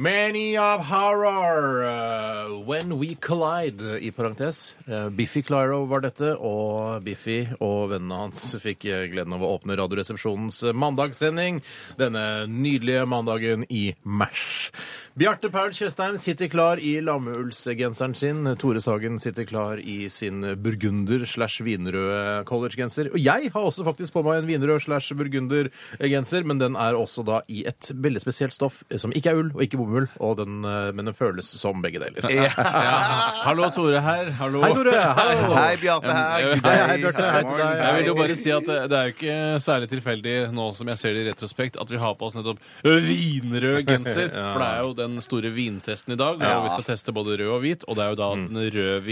Many of horror uh, when we collide, uh, i parentes. Uh, Biffy Clyro var dette, og Biffy og vennene hans fikk uh, gleden av å åpne Radioresepsjonens uh, mandagssending denne nydelige mandagen i mars. Bjarte Paul Tjøstheim sitter klar i lammeulsgenseren sin. Tore Sagen sitter klar i sin burgunder slash vinrøde collegegenser. Og jeg har også faktisk på meg en vinrød slash burgundergenser, men den er også da i et veldig spesielt stoff eh, som ikke er ull og ikke bomull, og den, eh, men den føles som begge deler. Hallo, Tore her. Hallo. Hei, Tore! Hallo! Hei, Bjarte her. Hei, hei, hei, Bjarte. Hei til deg. Jeg vil jo bare si at det det er jo ikke særlig tilfeldig nå som jeg ser det i retrospekt, at vi har på oss nettopp vinrød genser. For det er jo den store vintesten i dag, hvor vi skal teste både rød og hvit. Og det er jo da den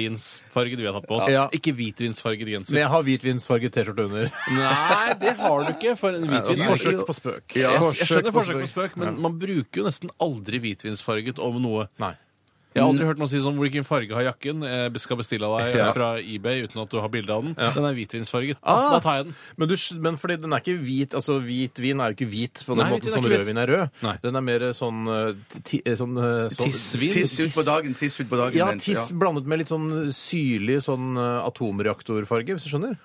rødvinsfargede vi har tatt på oss. Ja. Ikke hvitvinsfarget genser. Men jeg har hvitvinsfarget T-skjorte under. Nei, det har du ikke, for en hvitvin Et forsøk forsøk på spøk. Jeg, jeg skjønner forsøk på spøk, men man bruker jo nesten aldri hvitvinsfarget om noe. Nei. Jeg har aldri hørt noen si sånn 'hvilken farge har jakken?' Jeg skal bestille av deg Ja. fra eBay uten at du har bilde av den. Den er hvitvinsfarget. Ah. Da tar jeg den. Men, du, sk- men fordi den er ikke hvit altså hvit vin er jo ikke hvit på den Nei, måten den er som ikke hvit. rødvin er rød. Nei. Den er mer sånn, eh, ti, eh, sånn, eh, sånn Tissvin? Tiss ut på dagen. Tiss ut på dagen. Ja, men- tiss blandet med litt sånn syrlig sånn eh, atomreaktorfarge, hvis du skjønner.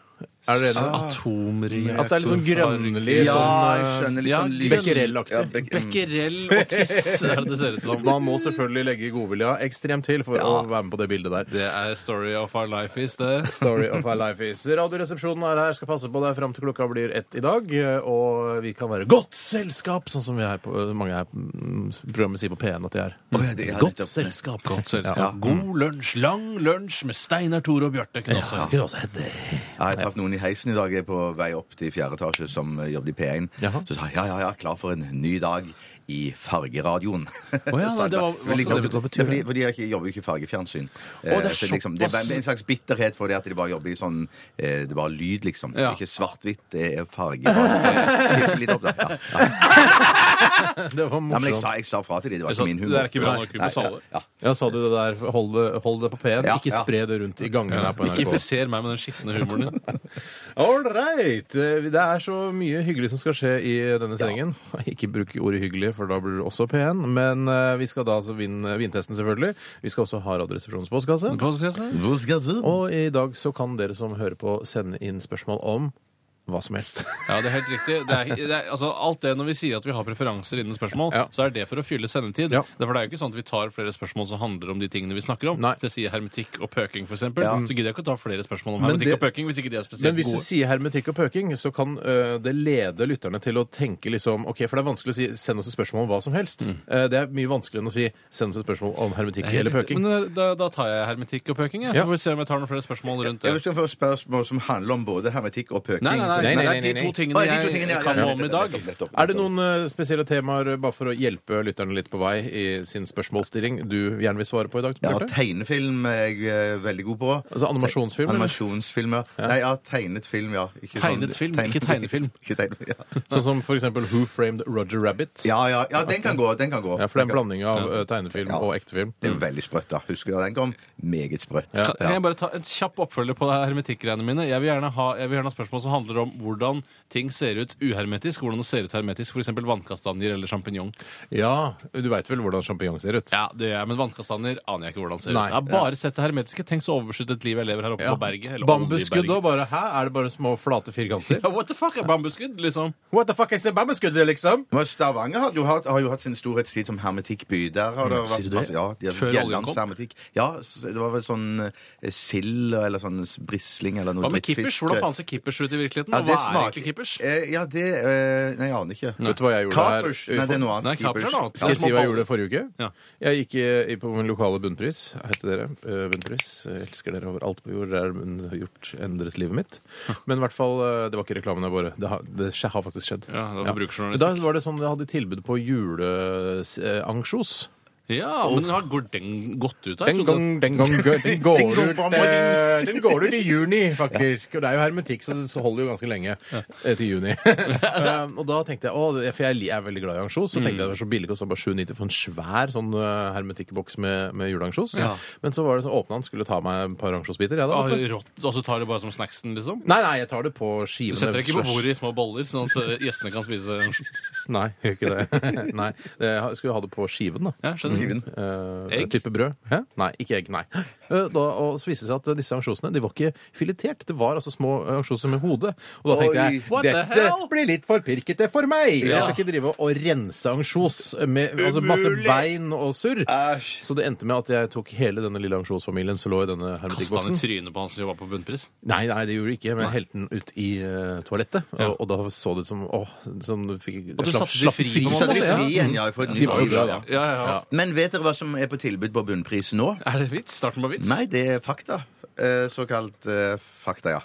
Er dere enige? Atomreaktor. Ah. At det er litt sånn grønnlig Ja, sånn jeg eh, skjønner. Litt ja, sånn lys- Becquerel-aktig. Ja, Bec- Becquerel og tiss er det det ser ut som. Man må selvfølgelig legge godvilja ekstremt til for å være med på det bildet der. Det er story of our life is det. Story of our life is. Radioresepsjonen er her, skal passe på deg fram til klokka blir ett i dag. eh, Og vi kan være godt selskap, sånn som vi er på, mange her mm, programmet sier på P1 at de er. Å, ja, det er Godt nettopp. selskap. Godt selskap. Ja. God lunsj. Lang lunsj med Steinar, Tore og Bjarte. Kunne også- Kunne også hett det. Ja, jeg traff noen i heisen i dag. Jeg er på vei opp til fjerde etasje, som eh, jobber i P1. Jaha. Så sa jeg ja, ja, ja, klar for en ny dag i fargeradioen. ja, Sa jeg det var- da. hva Men skal liksom, det bety- hva betyr det er fordi, fordi jeg ikke, jobber jo ikke i fargefjernsyn. Å, det er Eh, så liksom, det er såpass. bare en slags bitterhet for det at de bare jobber i sånn eh, Det er bare lyd, liksom. Ja. Ikke svart-hvitt, det er farge. Litt- Litt opp, da. Ja. Ja. Det var Nei, men jeg morsomt. sa, jeg sa fra til dem. Det var Jeg sa, ikke min humor. Sånn. det er ikke bra nok Nei, med Sale. Ja, ja. Ja, sa du det der? Hold det, hold det på P1. Ja, ikke ja. spre det rundt i gangene her på Ikke NRK. infiser meg med den skitne humoren din. All right. Eh, Det er så mye hyggelig som skal skje i denne sendingen. Ikke bruk ordet hyggelig, for da blir du også pen. Men eh, vi skal da altså vinne vintesten, selvfølgelig. Vi skal også ha Radioresepsjonens postkasse. Og i dag så kan dere som hører på, sende inn spørsmål om hva som helst. Ja, det er helt riktig. Det er, det er, altså, alt det Når vi sier at vi har preferanser innen spørsmål, Ja. så er det for å fylle sendetid. Ja. Det er for det er jo ikke sånn at vi tar flere spørsmål som handler om de tingene vi snakker om. Nei. Det sier hermetikk og pøking, f.eks. eksempel Så gidder jeg ikke å ta flere spørsmål om Men hermetikk det- og pøking hvis ikke de er Men spesielt hvis du gode. sier hermetikk og pøking, så kan ø, det lede lytterne til å tenke liksom OK, for det er vanskelig å si 'send oss et spørsmål om hva som helst'. Eh, det er mye vanskeligere enn å si 'send oss et spørsmål om hermetikk Helt eller riktig. pøking'. Men eh, da, da tar jeg hermetikk og pøking, jeg. Ja. så får vi se om jeg tar noen flere spørsmål rundt Jeg det. vil skal få spørsmål som handler om både hermetikk og pøking. Nei, nei, nei, nei, nei, så- det er nei, de nei. to tingene Å, ja, de to jeg tingene, ja, kan ja, noe om i dag. nettopp, nettopp, nettopp. Er det noen ø, spesielle temaer, ø, bare for å hjelpe lytterne litt på vei i sin spørsmålsstilling, du gjerne vil svare på i dag? Ja, Bjarte? tegnefilm er jeg eh, veldig god på. Altså animasjonsfilm, eller? Animasjonsfilm, ja. Nei, ja, tegnet film, ja. Ikke sånn- Tegnet film, ikke tegnefilm. ikke tegnefilm, ja. Sånn som for eksempel 'Who Framed Roger Rabbit'? Ja, ja, ja, den kan gå, den kan gå. Ja, for det er en blanding av ø, tegnefilm Ja. og ektefilm. Det er jo veldig sprøtt, da. Husker du da den kom? Meget sprøtt. Kan, kan jeg bare ta en kjapp oppfølger på det her hermetikkgreiene mine? Jeg vil, gjerne ha, jeg vil gjerne ha spørsmål som handler om hvordan ting ser ut uhermetisk, hvordan det ser ut hermetisk, f.eks. vannkastanjer eller sjampinjong. Ja, du veit vel hvordan sjampinjong ser ut? Ja, det gjør jeg, men vannkastanjer aner jeg ikke hvordan ser Nei. ut. Jeg har bare sett det hermetiske. Tenk så overbeskyttet liv jeg lever her oppe på berget. eller om i Bambusskudd berget. og bare Hæ, er det bare små flate firkanter? Ja, what the fuck er bambusskudd, liksom? What the fuck is a bambusskudd, liksom? Men Stavanger har jo hatt, har jo hatt sin storhetstid som hermetikkby. Der har det Sier du vært det? masse, ja, de har Før oljen kom? Gjellands hermetikk. Ja, s- det var vel sånn eh, sild eller sånn brisling eller noe Hva med drittfisk. kippers? Hvordan faen ser kippers ut i virkeligheten? Ja, og det hva er smaker- egentlig kippers? Eh, ja, det eh, Nei, jeg aner ikke. Vet du hva jeg gjorde Kapers? her? Nei, det er noe annet. Nei, kapers er noe annet. Skal jeg si hva jeg gjorde forrige uke? Ja. Jeg gikk i, i- på min lokale bunnpris. Heter dere eh, bunnpris. Jeg elsker dere overalt på jord. Der hun har gjort endret livet mitt. Men i hvert fall, eh, det var ikke reklamen jeg bare Det har, det skje- har faktisk skjedd. Ja, det var forbrukerjournalistikk. Da var det sånn jeg hadde tilbud på juleansjos. Ja, men har går den gått ut av? Den Jeg trodde- gang, den gang, gø- den går Den går ut på eh, Den går ut i juni, faktisk. Og det er jo hermetikk, så det holder jo ganske lenge eh, til juni. Eh, og da tenkte jeg, å, det- for jeg li- er veldig glad i ansjos, så Mm. tenkte jeg det var så billig å bare 7,90 for en svær sånn eh, hermetikkboks med, med juleansjos. Men så var det sånn, åpna han skulle ta meg et par ansjosbiter. Ja, da, Ah, vet du. rått. Og så tar du bare som snacksen, liksom? Nei, nei, jeg tar det på Du skivene. setter deg ikke på slash- bordet i små boller, sånn at gjestene kan spise Nei, gjør ikke det. nei, jeg skulle ha det på skiven, da. Ja, skjønner. Skiven. Eh, Egg? Type brød? Hæ? Nei, ikke egg. nei. Eh, da, og så viste det seg at disse ansjosene de var ikke filetert. Det var altså små ansjoser med hode. Og da tenkte jeg Oi, what the dette hell? blir litt for pirkete for meg! Ja. Jeg skal ikke drive og rense ansjos med altså, masse Umulig! bein og surr. Æsj. Så det endte med at jeg tok hele denne lille ansjosfamilien som lå i denne Kasta han i hermetikkboksen. trynet på han som jobba på Bunnpris? Nei, nei, det gjorde jeg ikke, men jeg helte den ut i eh, toalettet. Ja. Og, og da så det ut som åh, som du fikk Og du slapp- satte de slapp fri, på en Du måte, satte de ja. fri igjen, ja. For et De var jo nytt bra, liv, da. ja. Ja, ja, Men vet dere hva som er på tilbud på bunnpris nå? Er det vits? Starten på vits? Nei, det er fakta. Eh, Såkalt eh, fakta, ja.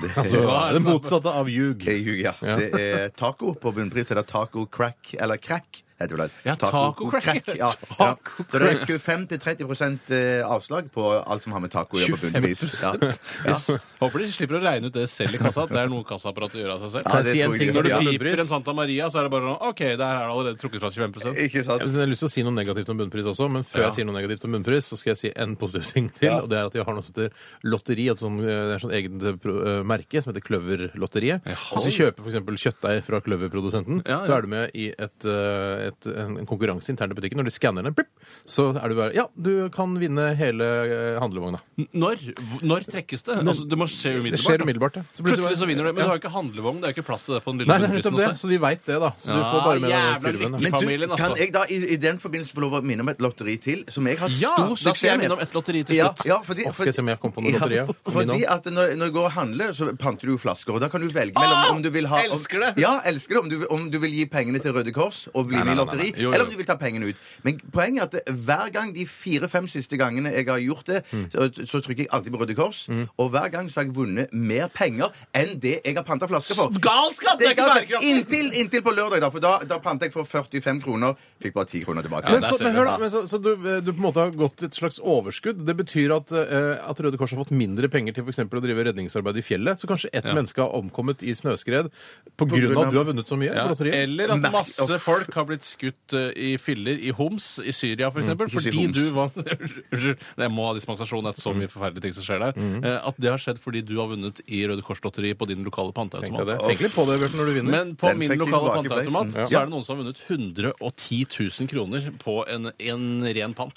Det er, Så, Ja, det motsatte av ljug. det er ljug, ja. Det er taco. På bunnpris er det taco crack, eller crack. Heter det vel. Ja, taco crack. ja. ja. Så det er 25-30 eh, avslag på alt som har med taco å gjøre på bunnpris. Ja. Ja. Yes. Håper de slipper å regne ut det selv i kassa, at det er noe kassaapparatet gjør av seg selv. Ja, Kan det jeg si tror en jeg ting ikke. når det Når du Ja. blir griper en sånn bunnpris? Santa Maria, så er det bare sånn OK, der er det allerede trukket fra 25 Ikke sant? Jeg har lyst til å si noe negativt om bunnpris også, men før Ja. jeg sier noe negativt om bunnpris, så skal jeg si en positiv ting til. Ja. Og det er at de har noe som heter lotteri. Et sånn, eh, det er sånn eget eh, pro- eh, merke som heter Kløverlotteriet. Hvis du kjøper f.eks. kjøttdeig fra kløverprodusenten, Ja, ja. så er du med i et, eh, et, en en konkurranse internt i butikken. Når de skanner den, plupp, så er du bare Ja, du kan vinne hele eh, handlevogna. Når? Hvor- Når trekkes det? Altså, det må skje umiddelbart. Det skjer da. umiddelbart, ja. Så blir det Plutselig så bare- vinner du, men Ja. du har jo ikke handlevogn. Det er jo ikke plass til det på den lille Nei, det er bunnprisen nettopp det, hos deg. så de veit det, da. Så du Ja, får bare med deg jævla kurven. lykkelig. da. Men du, familien, altså. kan jeg da i, i den forbindelse få lov å minne om et lotteri til, som jeg har hatt Ja, stor da skal jeg suksess med? minne om et lotteri til Ja, slutt. ja, fordi, Å, skal jeg se om jeg kom på noe lotteri, ja? Minn om. fordi at når, når jeg går og handler, så panter du jo flasker. Og da kan du velge mellom Ah! om du vil ha om, Elsker det! Ja, elsker det! Om du, om du vil gi pengene til Røde Kors og bli Nei, nei, med i nei, lotteri, nei, nei. Jo, jo. eller om du vil ta pengene ut. Men poenget er at det- hver gang de fire-fem siste gangene jeg har gjort det, Mm. så, så trykker jeg alltid på Røde Kors. Og hver gang så har jeg vunnet mer penger enn det jeg har panta flasker for. Galskap! Det er ikke bærekraftig. inntil, inntil på lørdag, da. For da, da panta jeg for 45 kroner. Fikk bare 10 kroner tilbake. Men der så, ser men du. hør da, men så, så du, eh, du på en måte har gått et slags overskudd. Det betyr at, eh, at Røde Kors har fått mindre penger til f.eks. å drive redningsarbeid i fjellet. Så kanskje ett menneske har omkommet i snøskred på grunn grunn av av- at du har vunnet så mye Ja. på lotteriet. Eller at Merk- masse folk har blitt skutt eh, i filler i Homs i Syria, f.eks. eksempel Ikke si fordi homs. du vant Unnskyld, jeg må ha dispensasjon. Det er så mye forferdelige ting som skjer der. Eh, At det har skjedd fordi du har vunnet i Røde Kors-lotteriet på din lokale Tenk, deg det. panteautomat. Tenk litt på det, Bjørten, når du vinner. Men på Den min fikk de lokale tilbake i panteautomat fleisen. så er det noen som har vunnet 110 000 kroner på en, en ren pant.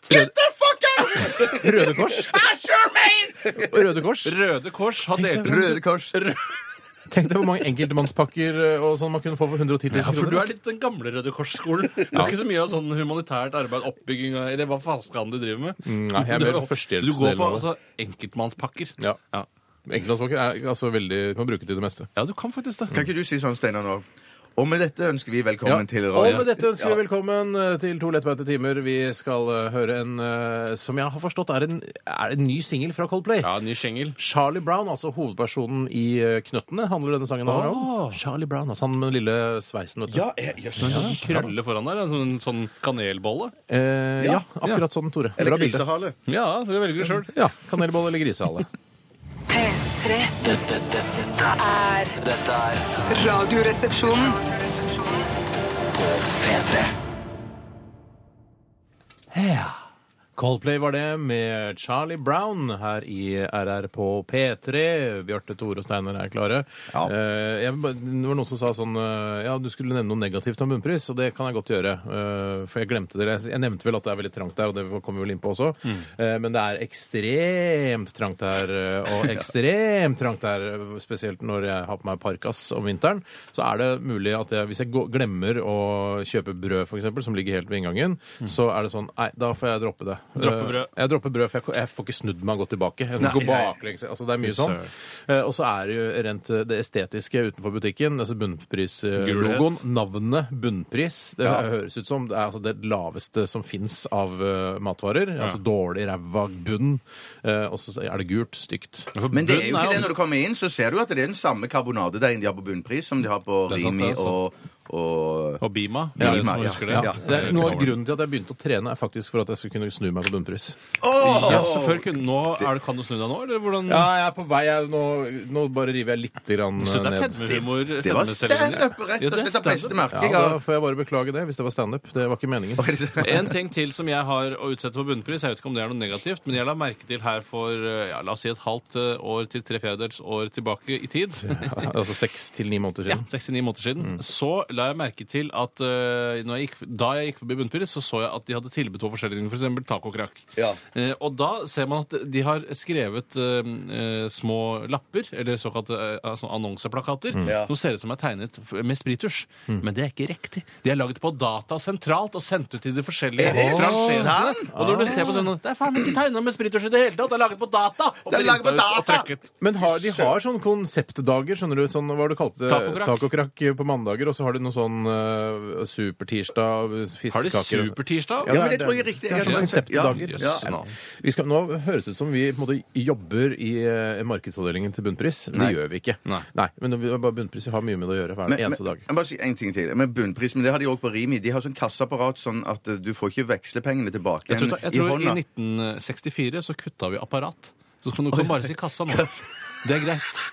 Røde Kors. Og Røde Kors. Røde Kors har Tenk deg delt ut Røde Kors. Tenk deg hvor mange enkeltmannspakker eh, og sånn man kunne få for 110 000 Ja, for kroner. du er litt den gamle Røde Kors-skolen. Du har ikke så mye av sånn humanitært arbeid, oppbygging av- eller hva faen skal du drive med? Mm, nei, jeg er Du- mer på førstehjelpsdelen Du går på av det. altså, enkeltmannspakker. Ja. Enkeltmannspakker er altså veldig, kan bruke til det meste. Ja, du kan faktisk det. Kan ikke du si sånn, Steinar, nå? Og med dette ønsker vi velkommen til Og Radio med dette ønsker Ja. vi velkommen eh, til to lettbeinte timer. Vi skal eh, høre en eh, som jeg har forstått er en, er en ny singel fra Coldplay. Ja, ny skjengel. Charlie Brown, altså hovedpersonen i eh, Knøttene, handler denne sangen her om. Charlie Brown, altså han med den lille sveisen, vet du. Ah. Ja, eh, jøss. Krølle foran der, en sånn, sånn kanelbolle. Eh, ja, Ja. akkurat sånn, Tore. Eller Bra bilde. grisehale. Ja, du velger sjøl. Ja, Kanelbolle eller grisehale. P3 Dette, dette, dette er Dette er Radioresepsjonen. P3 Ja. Coldplay var det med Charlie Brown her i RR på P3. Bjarte, Tore og Steinar er klare. Ja. Eh, jeg, vil bare- det var noen som sa sånn eh, Ja, du skulle nevne noe negativt om bunnpris, og det kan jeg godt gjøre. eh, for jeg glemte det. Jeg, jeg nevnte vel at det er veldig trangt der, og det kommer vi vel inn på også. Eh, men det er ekstremt trangt der, eh, og ekstremt trangt der, eh, spesielt når jeg har på meg parkas om vinteren. Så er det mulig at jeg, hvis jeg gå- glemmer å kjøpe brød, f.eks., som ligger helt ved inngangen, så er det sånn Nei, da får jeg droppe det. Droppe Eh, brød. Jeg dropper brød, for jeg, jeg får ikke snudd meg og gått tilbake. Jeg Nei, går nei. baklengs. Altså, det er mye sånn. Eh, Og så er det jo rent eh, det estetiske utenfor butikken, altså bunnprislogoen. Gulhet. Navnet bunnpris, det høres ut som det er altså det laveste som fins av eh, matvarer. Altså dårlig, ræva bunn. Eh, Og så er det gult, stygt. Altså, Men det er jo ikke det. Når du kommer inn, så ser du at det er den samme karbonadedeigen de har på bunnpris, som de har på Det er sant, Rimi det er sant. og, og Og Bima. for Ja, dere som Bima, ja, husker ja. det. Ja, det er, noe av grunnen til at jeg begynte å trene, er faktisk for at jeg skulle kunne snu meg på bunnpris. Ja, så før kunne, nå er det, Kan du snu deg nå, eller hvordan Ja, jeg er på vei. Jeg, nå, nå bare river jeg litt grann eh, Så det er ned. fedmehumor? Det var fedmeselvironi. standup, rett Ja, det er og slett. Det beste standup. merket jeg Ja, da har. får jeg bare beklage det, hvis det var standup. Det var ikke meningen. En ting til som jeg har å utsette på bunnpris, jeg vet ikke om det er noe negativt, men jeg la merke til her for eh, ja, la oss si et halvt eh, år til tre fjerdedels år tilbake i tid. Ja, altså seks til ni måneder Ja, siden. 69 måneder siden. Mm. Så la jeg merke til at eh, når jeg gikk, da jeg gikk forbi Bunnpris, så så jeg at de hadde tilbud på forskjellige ting, f.eks. tacokrakk. Ja. Eh, og da ser man at de har skrevet eh, eh, små lapper, eller såkalte eh, altså annonseplakater, Mm. Ja. Mm. som ser ut som er tegnet f- med sprittusj. Men det er ikke riktig. De er laget på data sentralt og sendt ut til de forskjellige Er det franchisene. sant? Og når du ser på sånn Det er faen ikke tegna med sprittusj i det hele tatt! Det er laget på data! Og Det er laget på printet ut og data! trykket. Men har, de har sånne konseptdager, skjønner du, sånn, hva var det du kalte det? Tacokrakk. Tacokrakk på mandager, og så har de noe sånn eh, supertirsdag, Har de fiskekaker og sånn. supertirsdag? Ja, men det tror jeg er riktig. Det er Jeg sånne tror- konseptdager. Ja, Jøss, nå. Vi skal, nå høres det ut som vi på en måte jobber i eh, markedsavdelingen til Bunnpris. Det gjør vi ikke. Nei. men det er bare Bunnpris vi har mye med det å gjøre hver eneste dag. jeg må bare si en ting til. Med bunnpris, men det har de òg på Rimi. De har sånn kassaapparat sånn at eh, du får ikke vekslepengene tilbake Jeg tror, jeg i tror i hånda. 1964 så kutta vi apparat. Så kan du kan bare si kassa nå. Det er greit.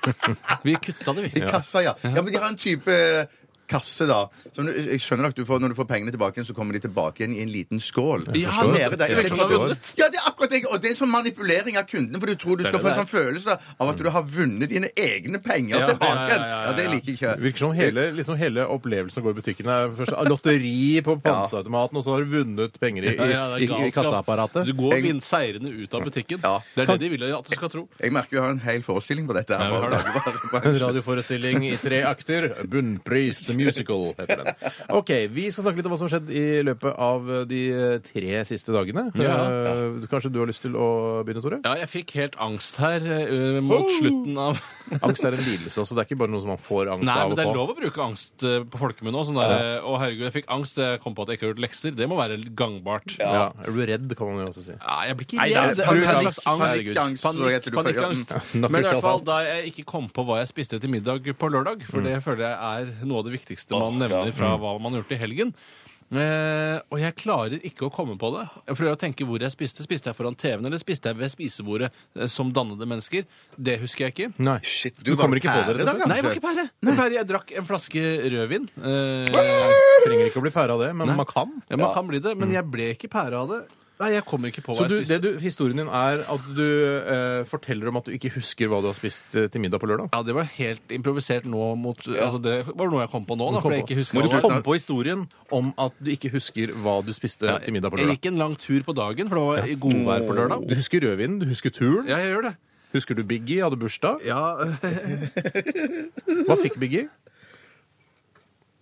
Vi kutta det, vi. I kassa, ja. ja. Men de har en type eh, kasse, da. Som du, jeg skjønner at du får, når du får pengene tilbake igjen, så kommer de tilbake igjen i en liten skål. Ja, Forstår nede du? der. Jeg Ja, vet ikke forstår. om jeg har vunnet. Ja, det er akkurat det. Og det er sånn manipulering av kunden, for du tror du skal få en sånn følelse av at du har vunnet dine egne penger Ja, ja, tilbake. ja, igjen. ja, ja, Ja, det ja. liker ikke Det jeg. virker som hele, liksom hele opplevelsen av å gå i butikken er først lotteri på panteautomaten, og så har du vunnet penger i, i, i, i kassaapparatet. Du går Jeg- vin- seirende ut av butikken. Ja. Det er det de vil at du skal tro. Jeg merker vi har en hel forestilling på dette. Ja, her. vi har det. En Dagligvarebransjen. radioforestilling i tre akter. Bunnpris The Musical heter den. Ok, Vi skal snakke litt om hva som har skjedd i løpet av de tre siste dagene. Ja. Eh, Kanskje du har lyst til å begynne, Tore? Ja, jeg fikk helt angst her eh, mot slutten av Angst er en lidelse også. Det er ikke bare noe som man får angst Nei, av men og det på. er lov å bruke angst eh, på folkemunne òg. Sånn der, eh, Å, herregud, jeg fikk angst. Jeg kom på at jeg ikke har gjort lekser. Det må være litt gangbart. Ja. Er du redd, kan man jo også si. Nei, jeg blir ikke Nei, det er redd. panikk- Det er en slags angst. Herregud. Panikkangst, tror jeg Panikk, heter det. mm. panikkangst. Knock Men i hvert yourself fall out. da jeg ikke kom på hva jeg spiste til middag på lørdag, Mm. for det føler jeg er noe av det viktigste man nevner fra hva man har gjort i helgen. Eh, og jeg klarer ikke å komme på det. Jeg prøver å tenke hvor jeg spiste. Spiste jeg foran TV-en, eller spiste jeg ved spisebordet eh, som dannede mennesker? Det husker jeg ikke. Nei. Shit, du du kommer var ikke på det, pære rett og da, slett. ja. Nei, det var ikke pære. Det var pære. Jeg drakk en flaske rødvin. Eh, Du trenger ikke å bli pære av det, men man kan. ja, man kan bli det, Mm. men jeg ble ikke pære av det. Nei, jeg kommer ikke på Så hva du, jeg spiste. det du, historien din er at du eh, forteller om at du ikke husker hva du har spist eh, til middag på lørdag? Ja, det var helt improvisert nå mot altså Det var noe jeg kom på nå, da, Kom for jeg på. ikke husker Må du hva det var. komme på historien om at du ikke husker hva du spiste til middag på Jeg lørdag? gikk en lang tur på dagen, for det var i godvær på lørdag. Du husker rødvinen, du husker turen. Ja, jeg gjør det. Husker du Biggie hadde bursdag? Ja, Hva fikk Biggie?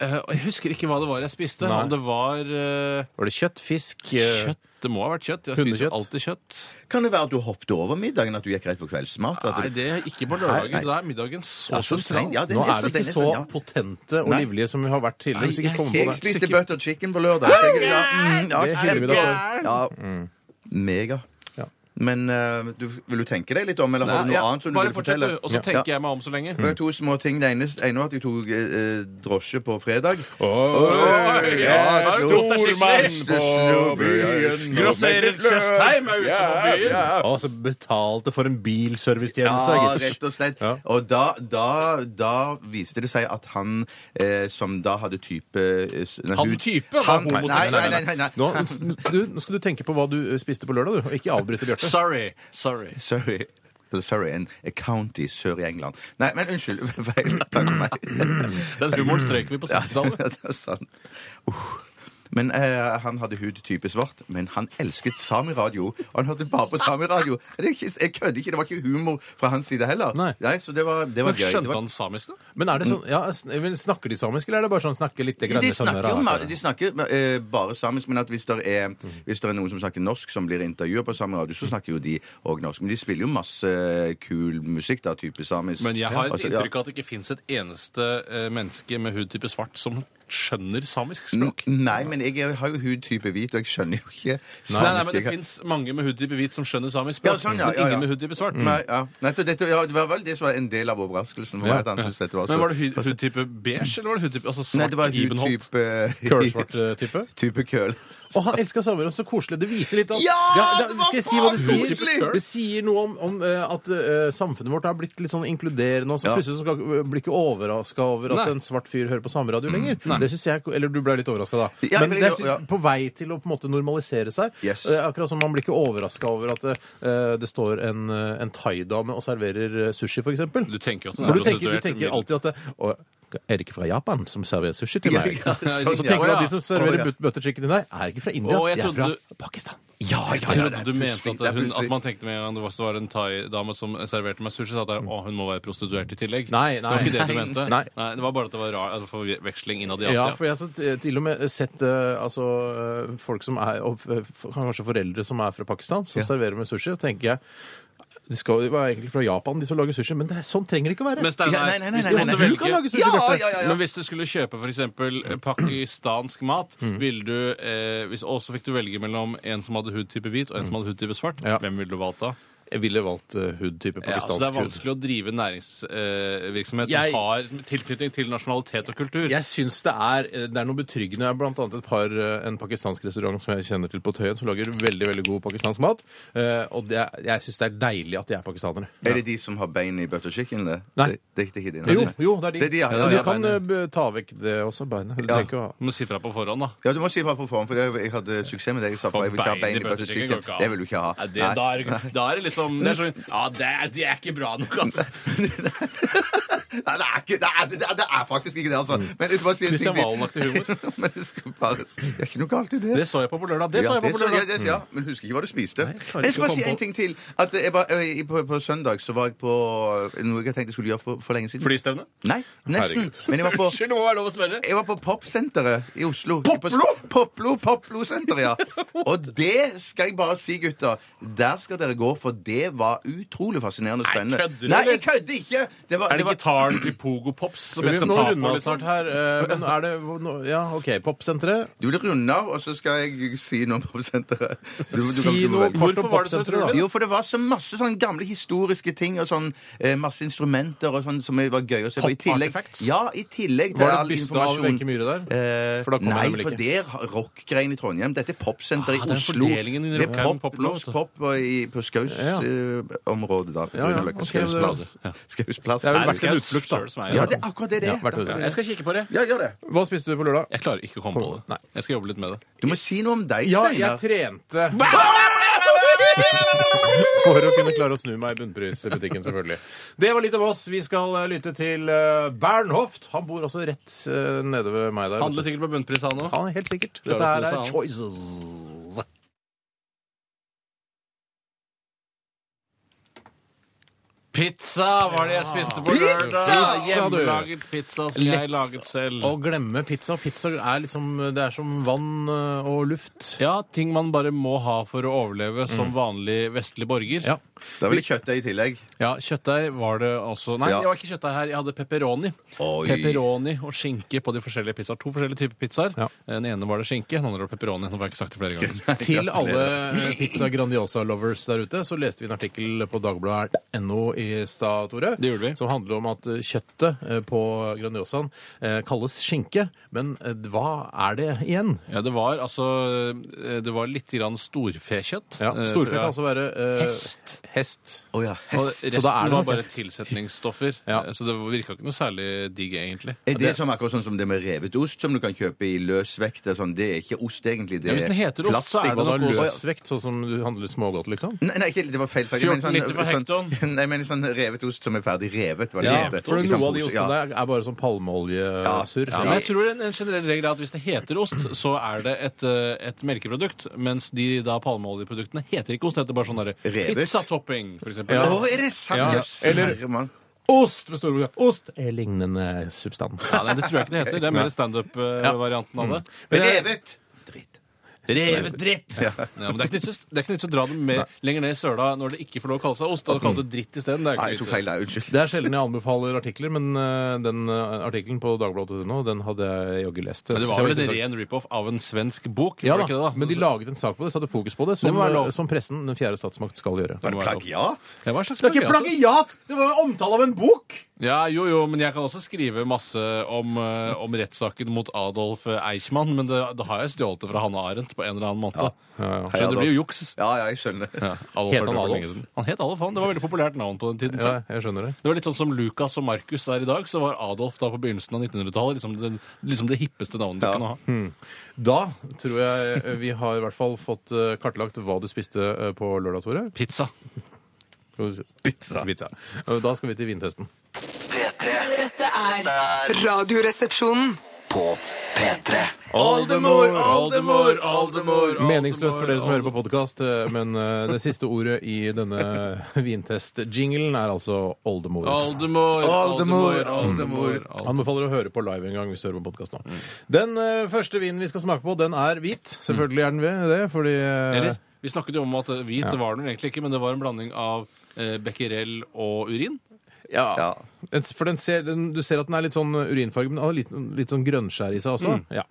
eh, og Jeg husker ikke hva det var jeg spiste. Nei. Om det var eh, Var det kjøtt, fisk, eh, kjøtt Det må ha vært kjøtt. Jeg spiser Hundekjøtt? jo alltid kjøtt. Kan det være at du hoppet over middagen? At du gikk rett på kveldsmat? At Nei, du... det er ikke på Nei, nei. lørdagen. Da er middagen så Ja, så sentral. sent, ja, det- Nå den er vi den ikke så sånn, ja. potente og Nei. livlige som vi har vært tidligere. Nei, hvis ikke jeg- kommer på Jeg det. spiste Sikkert. butter chicken på lørdag. Jeg- Ja, mm, ja, Det hyller vi deg for. ja. Mega. Mm. Ja. Men eh, du, vil du tenke deg litt om, eller har du Nei, noe ja, annet som du bare vil fortsett, fortelle? du, og så tenker jeg meg om så lenge. Det var to små ting. Det ene, ene var at jeg tok eh, eh, drosje på fredag. Oi, ja, jeg er stor stormann mann på byen. på byen. Grosserer Tjøstheim er ute på byen! Og så betalte for en bilservicetjeneste. Ja, gitt. rett og slett. Ja. Og da, da, da viste det seg at han eh, som da hadde type eh, s- nei, Han hud- type var han, nei, nei, homoseksuell. nei, nei, nei, Nå, du, nå skal du tenke på hva du eh, spiste på lørdag, du, og ikke avbryte Bjarte. Sorry. Sorry. Sorry. Sorry, en a county sør i England. Nei, men unnskyld. Feil. Takk for meg. Den humoren strøk vi på Ja, 60-tallet. det er sant. Uh. Men eh, han hadde hud type svart, men han elsket samiradio. Og han hørte bare på samiradio. Det er ikke, jeg kødder ikke, det var ikke humor fra hans side heller. Nei. så det var, det var Men gøy. Det skjønte var, han samisk, da? Men er det sånn, ja, sn- men Snakker de samisk, eller er det bare sånn snakke litt grann de sånn snakker, jo, rart? ma- de snakker eh, bare samisk, men at hvis det, er, hvis det er noen som snakker norsk, som blir intervjua på samme radio, så snakker jo de òg norsk. Men de spiller jo masse kul musikk, da, type samisk. Men jeg har et Altså, ja. inntrykk av at det ikke fins et eneste eh, menneske med hudtype svart som skjønner samisk språk. Nei, men jeg har jo hudtype hvit, og jeg skjønner jo ikke Nei, nei, men Det jeg har- fins mange med hudtype hvit som skjønner samisk Ja, språk, sånn, ja, men ja, Mm. ja. ingen med hudtype svart. Nei, ja. Nei, så dette, ja, det var vel det som var en del av overraskelsen. for meg, at han syntes dette var så... Men Var det hud- hudtype beige, eller var det hudtype altså Nei, svart det var Ibenholt? hudtype Kølsvart eh, type. Type køl. Og han elska sommerrom. Så koselig. Det viser litt at Ja, da- det var Skal jeg si hva det faen sier? koselig! Det sier noe om, om eh, at eh, samfunnet vårt har blitt litt sånn inkluderende. Og så Ja. plutselig så skal, eh, blir ikke overraska over at Nei. en svart fyr hører på sameradio lenger. Det synes jeg, Eller du ble litt overraska da. Mm. Ja, Men jeg ble- det er sy- ja. på vei til å på en måte normalisere seg. Yes. Eh, Akkurat som man blir ikke overraska over at eh, det står en, eh, en thaidame og serverer eh, sushi, for eksempel. Du tenker jo at den For er sånn du tenker, prostituert. du tenker alltid at det, å, Er det ikke fra Japan som serverer sushi til meg? Ja, ja, Så sånn, tenker du ja. at de som serverer Å, ja. but- butter chicken til deg, er ikke fra India, Å, jeg de er fra trodde Pakistan. Jeg trodde du mente pussig, at, det er hun, pussig. at man tenkte med en gang det var- var en thaidame som serverte meg sushi, så at jeg, å, hun må være prostituert i tillegg. Nei, Det var nei. ikke det du mente. Nei. det var bare at det var rar altså, forveksling innad i Ja, Asia. for jeg har så t- til og med sett eh, altså, eh, folk som er og, eh, f- Kanskje foreldre som er fra Pakistan, som serverer med sushi. Og tenker jeg De skal jo være egentlig fra Japan, de som lager sushi, men det er, sånn trenger det ikke å være. Men Steinar, Ja, nei, nei, nei, hvis nei, du nei, måtte nei. Du kan lage velge sushi, Ja, Bjarte. ja, ja, ja. Men hvis du skulle kjøpe f.eks. pakistansk mat, ville du eh, hvis, Og så fikk du velge mellom en som hadde hudtype hvit, og en som hadde hudtype svart. Ja. Hvem ville du valgt da? Jeg ville valgt eh, hudtype Ja, altså, det er pakistansk hud. vanskelig å drive næringsvirksomhet eh, virksomhet Jeg- som har tilknytning til nasjonalitet og kultur. Jeg syns det er, eh, det er noe betryggende. Jeg har blant annet et par, eh, en pakistansk restaurant som jeg kjenner til på Tøyen, som lager veldig veldig god pakistansk mat. Eh, og det, er- jeg syns det er deilig at de er pakistanere. Er det de som har bein i butter chicken? Det? Nei. Det, det, det er ikke de, nei. Jo, jo, det er de. Det er de, ja, ja, du ja, kan beinet. eh, b- ta vekk det også, beinet. Du Ja. trenger ikke å ha Du må si fra på forhånd, da. Ja, du må si bare på forhånd, for jeg, jeg hadde suksess med det jeg sa. For For jeg vil ikke ha bein i bein i butter butter chicken går chicken. ikke an. Det vil du ikke ha. Ja, det, Nei. da, er, det- da er det liksom det er sånn, Ja, det er, det er ikke bra nok, altså. Nei, det, er ikke, det, er, det, er, det er faktisk ikke det, altså. Men jeg skal bare si en Mm. Christian ting Valen-aktig til. humor. Men jeg skal bare Det er ikke noe galt i det. Det så jeg på på lørdag. Det Ja, så jeg det på på så- lørdag. ja, det- ja, men husker ikke hva du spiste. jeg klarer Men jeg ikke skal å bare si komme en på- ting til. At jeg var, ø, i- på, på søndag så var jeg på noe jeg tenkte jeg skulle gjøre for, for lenge siden. Flystevne? Nei, nesten. Herregud. Men jeg var på Unnskyld, det må være lov å spørre. jeg var på Popsenteret i Oslo. Poplo? Poplo, Poplo-senteret, ja. Og det skal jeg bare si, gutter. Der skal dere gå, for det var utrolig fascinerende og spennende. kødder du, Nei, eller? jeg kødder ikke! Det var, Er det det var gitaren til Pogo Pops som jeg Vi skal må ta runde på? av Liksom? snart her. eh, Men er det hvor- nå- Ja, OK. Popsenteret. Du vil runde av, og så skal jeg si noe om Popsenteret. Du- du kan- Si du må noe velge. kort om Hvorfor var det så popsenteret, da. Jo, for det var så masse sånn gamle historiske ting og sånn eh, masse instrumenter og sånn som var gøy å se på. I tillegg, Pop-artifacts? ja, i tillegg til Var det all et byste av informasjon. Wenche Myhre der? Eh, For da kommer nei, de vel for ikke. det er rockgreien i Trondheim. Dette er popsenteret Ah, i det er altså. Oslo. fordelingen i Det er rockgreien, pop, poplåt. norsk pop og i, på Ja. Skaus-området, da. på Ja, ja, Grünerløkka. ok, Skausplass. det Skausplass. Det er vel Nei, verdt en jeg utflukt, da. selv som er- Ja, det er akkurat det det Ja, er. verdt en utflukt. Jeg skal kikke på det. Ja, gjør det. Hva spiste du på lørdag? Jeg klarer ikke å komme på det. Nei. Jeg skal jobbe litt med det. Du må si noe om deg, Ja, jeg Steinar. trente. For å kunne klare å snu meg i bunnprisbutikken, selvfølgelig. Det var litt om oss. Vi skal eh, lytte til eh, Bernhoft. Han bor også rett eh, nede ved meg der. vet Handler du. sikkert på bunnpris, han òg. Han er helt sikkert. Klarer Dette her å snu seg, er han. Choices. Pizza var det jeg spiste på Pizza, lørdag. du. Hjemmelaget pizza som Lett. jeg laget selv. Å glemme pizza. Pizza er liksom Det er som vann eh, og luft. Ja, ting man bare må ha for å overleve som vanlig vestlig borger. Ja. Da vil jeg kjøttdeig i tillegg. Ja, kjøttdeig var det også Nei, Ja. det var ikke kjøttdeig her. Jeg hadde pepperoni. Oi. Pepperoni og skinke på de forskjellige pizzaer. To forskjellige typer pizzaer. Ja. Eh, Den ene var det skinke, den andre var pepperoni. Nå får jeg ikke sagt det flere ganger. Til alle eh, Pizza Grandiosa-lovers der ute, så leste vi en artikkel på dagbladet.no i stad, Tore. Det gjorde vi. Som handler om at eh, kjøttet eh, på Grandiosaen eh, kalles skinke. Men eh, hva er det igjen? Ja, det var altså eh, Det var litt grann storfekjøtt. Ja, Eh, Storfe fra- kan også være eh, Hest. hest. Å ja, Og hest. resten da er det var nok bare hest. tilsetningsstoffer. Ja. Eh, Så det virka ikke noe særlig digg, egentlig. Er det som akkurat sånn som det med revet ost, som du kan kjøpe i løsvekt? og Sånn, det er ikke ost, egentlig. Det Ja, hvis den heter ost, så er plastikk. Hva det da? noe også- Løsvekt, sånn som du handler smågodt, liksom? Nei, nei, ikke, det var feil. sagt. Jeg mener 14 liter for sånn, sånn, nei, jeg mener sånn revet ost som er ferdig revet. Var det Ja, det het? For noe I av samme de pose, ostene der er bare sånn palmeoljesurr. Ja, men jeg tror en, en generell regel er at hvis det heter ost, så er det et, eh, et melkeprodukt. Mens de da palmeoljeproduktene heter ikke ost, det heter bare sånn derre Revet. pizzatopping, for eksempel. Ja. Å, er det sant? Ja, Jøss, eller- herremann. Ost med store bokstaver. Ost er lignende substans. Mm. eh, Ja, nei, det tror jeg ikke det heter. Det er mer standup-varianten av det. Revet! Dritt. Revet dritt! Ja. men det er ikke nytt å- det er ikke nytt å dra det mer, lenger ned i søla når det ikke får lov å kalle seg ost. Da kalles det Altså dritt isteden. Det er Nei, ikke jeg tok nytt. feil der. Unnskyld. Det er sjelden jeg anbefaler artikler, men eh, den eh, artikkelen på dagbladet.no, den hadde jeg jaggu lest. Så Men det jeg var vel var en interessant. ren rip-off av en svensk bok? ja da, var det ikke det, da? men de laget en sak på det, satte fokus på det, som, eh, må være lov. som pressen, den fjerde statsmakt, skal gjøre. Var det plagiat? Det var en slags altså. Det er ikke plagiat, da. plagiat! Det var omtale av en bok! Ja, jo, jo, men jeg kan også skrive masse om, eh, om rettssaken mot Adolf eh, Eichmann, men det, da har jeg stjålet det fra Hanne Arendt på en eller annen måte. Hei, Så det Adolf. blir jo juks. Ja, ja, jeg skjønner. Adolf Het han var død for Adolf? lenge siden. Han het Adolf, han. Det var veldig populært navn på den tiden. Ja, jeg skjønner det. Det var litt sånn som Lukas og Markus er i dag, så var Adolf da på begynnelsen av 1900-tallet liksom, det- liksom det hippeste navnet du Ja. kunne ha. Da tror jeg eh, vi har i hvert fall fått eh, kartlagt hva du spiste eh, på lørdag, Tore. Pizza. Skal du si- Pizza. Og Da skal vi til vintesten. P3 Dette er er Radioresepsjonen. på P3 Oldemor, oldemor, oldemor. Meningsløst for dere som hører på podkast, men eh, det siste ordet i denne vintest-jinglen er altså oldemor. Oldemor, oldemor, Oldemor, oldemor. oldemor. oldemor. Anbefaler å høre på live en gang hvis du hører på podkast nå. Den eh, første vinen vi skal smake på, den er hvit. Selvfølgelig er den ved det, fordi eh, Eller? Vi snakket jo om at eh, hvit var den egentlig ikke, men det var en blanding av eh, becquerel og urin. ja. Ja. Den, for den ser, den, du ser at den er litt sånn urinfarge, men den har litt, litt sånn grønnskjær i seg også. Ja.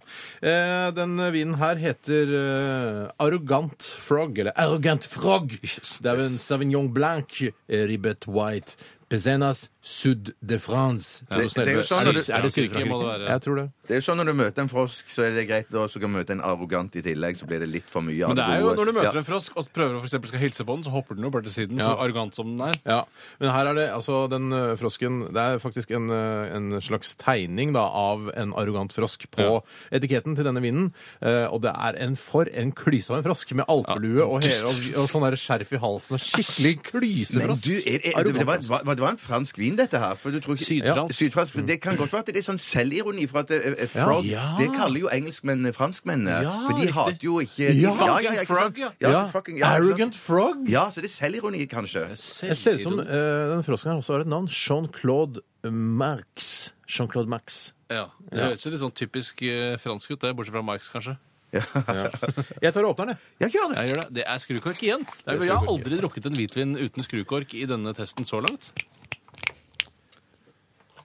Eh, den vinen her heter eh, Arrogant Frog, eller Arrogant Frog. Det er en Savignon Blanc eh, Ribbet White. Pezenas Sud de France. noe Det- sånt. det er jo sånn- er det, er det Frankrike må det Syd-Frankrike? være. Jeg tror det. Det er jo sånn når du møter en frosk, så er det greit. Og så kan du møte en arrogant i tillegg, så blir det litt for mye av Men det er jo gode. når du møter Ja. en frosk og prøver å for eksempel skal hilse på den, så hopper den jo bare til siden, så Ja. arrogant som den er. Ja, Men her er det altså den ø, frosken Det er faktisk en, ø, en slags tegning da, av en arrogant frosk på Ja. etiketten til denne vinen. Eh, og det er en for en klyse av en frosk med alpelue og, he- og, og sånn der skjerf i halsen. og Skikkelig Men klysefrosk. du, er, er, det, det, Arrogant var, frosk. hva- hva- det var en fransk vin, dette her. For du tror ikke, Sydfransk. Ja, Sydfransk. For det kan godt være at det er sånn selvironi. For at eh, Ja. eh, frog Ja. Det kaller jo eh, engelskmenn franskmennene. Ja, for de riktig. hater jo ikke de- Ja. ikke sant? Frog, ja. ja. ja, fucking- ja, ikke sant? Arrogant frog! Ja, så det er selvironi, kanskje. Jeg ser ut som ø, den frosken her også har et navn. Jean-Claude Marx. Jean-Claude Max. Ja. Det høres jo litt sånn typisk eh, fransk ut, det, bortsett fra Marx, kanskje. Jeg tar og åpner den, jeg. Ja, gjør det. Jeg gjør det. Det er skrukork igjen. Det er, Det er jeg har skrukork aldri drukket en hvitvin uten skrukork i denne testen så langt.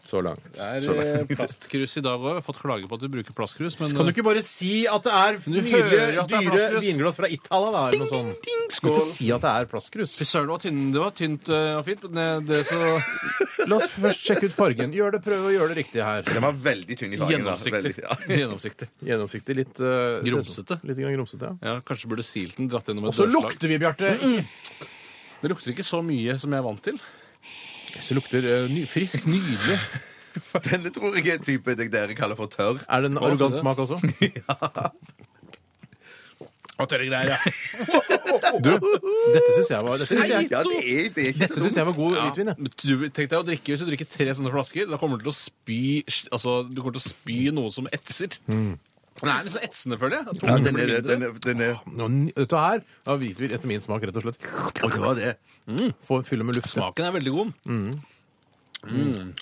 Så langt. Det er eh, plastkrus i dag òg. Jeg har fått klage på at du bruker plastkrus, men eh, Kan du ikke bare si at det er du hører nydelige, at det er dyre plastkrus. vinglass fra Italia, da? Eller noe sånt. Skal du ikke si at det er plastkrus? eh, Fy søren, det var tynn- det var tynt eh, og fint, men eh, det er så La oss først sjekke ut fargen. Gjør det, Prøv å gjøre det riktig her. Den var veldig tynn i fargen. da. gjennomsiktig. Veldig, ja. Gjennomsiktig. Gjennomsiktig. Litt eh, Grumsete. Litt grann grumsete, ja. Ja, kanskje burde silt den dratt gjennom Og et så dørslag. lukter vi, Bjarte. Mm. Det lukter ikke så mye som jeg er vant til. Så lukter eh, ny, friskt nydelig. Denne tror jeg er type det dere kaller for tørr. Er det en Hva sa arrogant du? smak også? Og tørre greier, ja. Du, dette syns jeg var Dette syns jeg, Ja, det er, det er ikke dette så dumt. synes jeg var god hvitvin, Men jeg. du, tenk deg å drikke Hvis du drikker tre sånne flasker, da kommer du til å spy Altså, du kommer til å spy noe som etser. Den er litt sånn etsende, føler jeg. At Mm. Ja, tungen den blir er, mindre. den er, den er. Nå, Dette her var hvitvin etter min smak, rett og slett. Å, det var det. Mm. Få fylle med luft. Smaken er veldig god. Mm.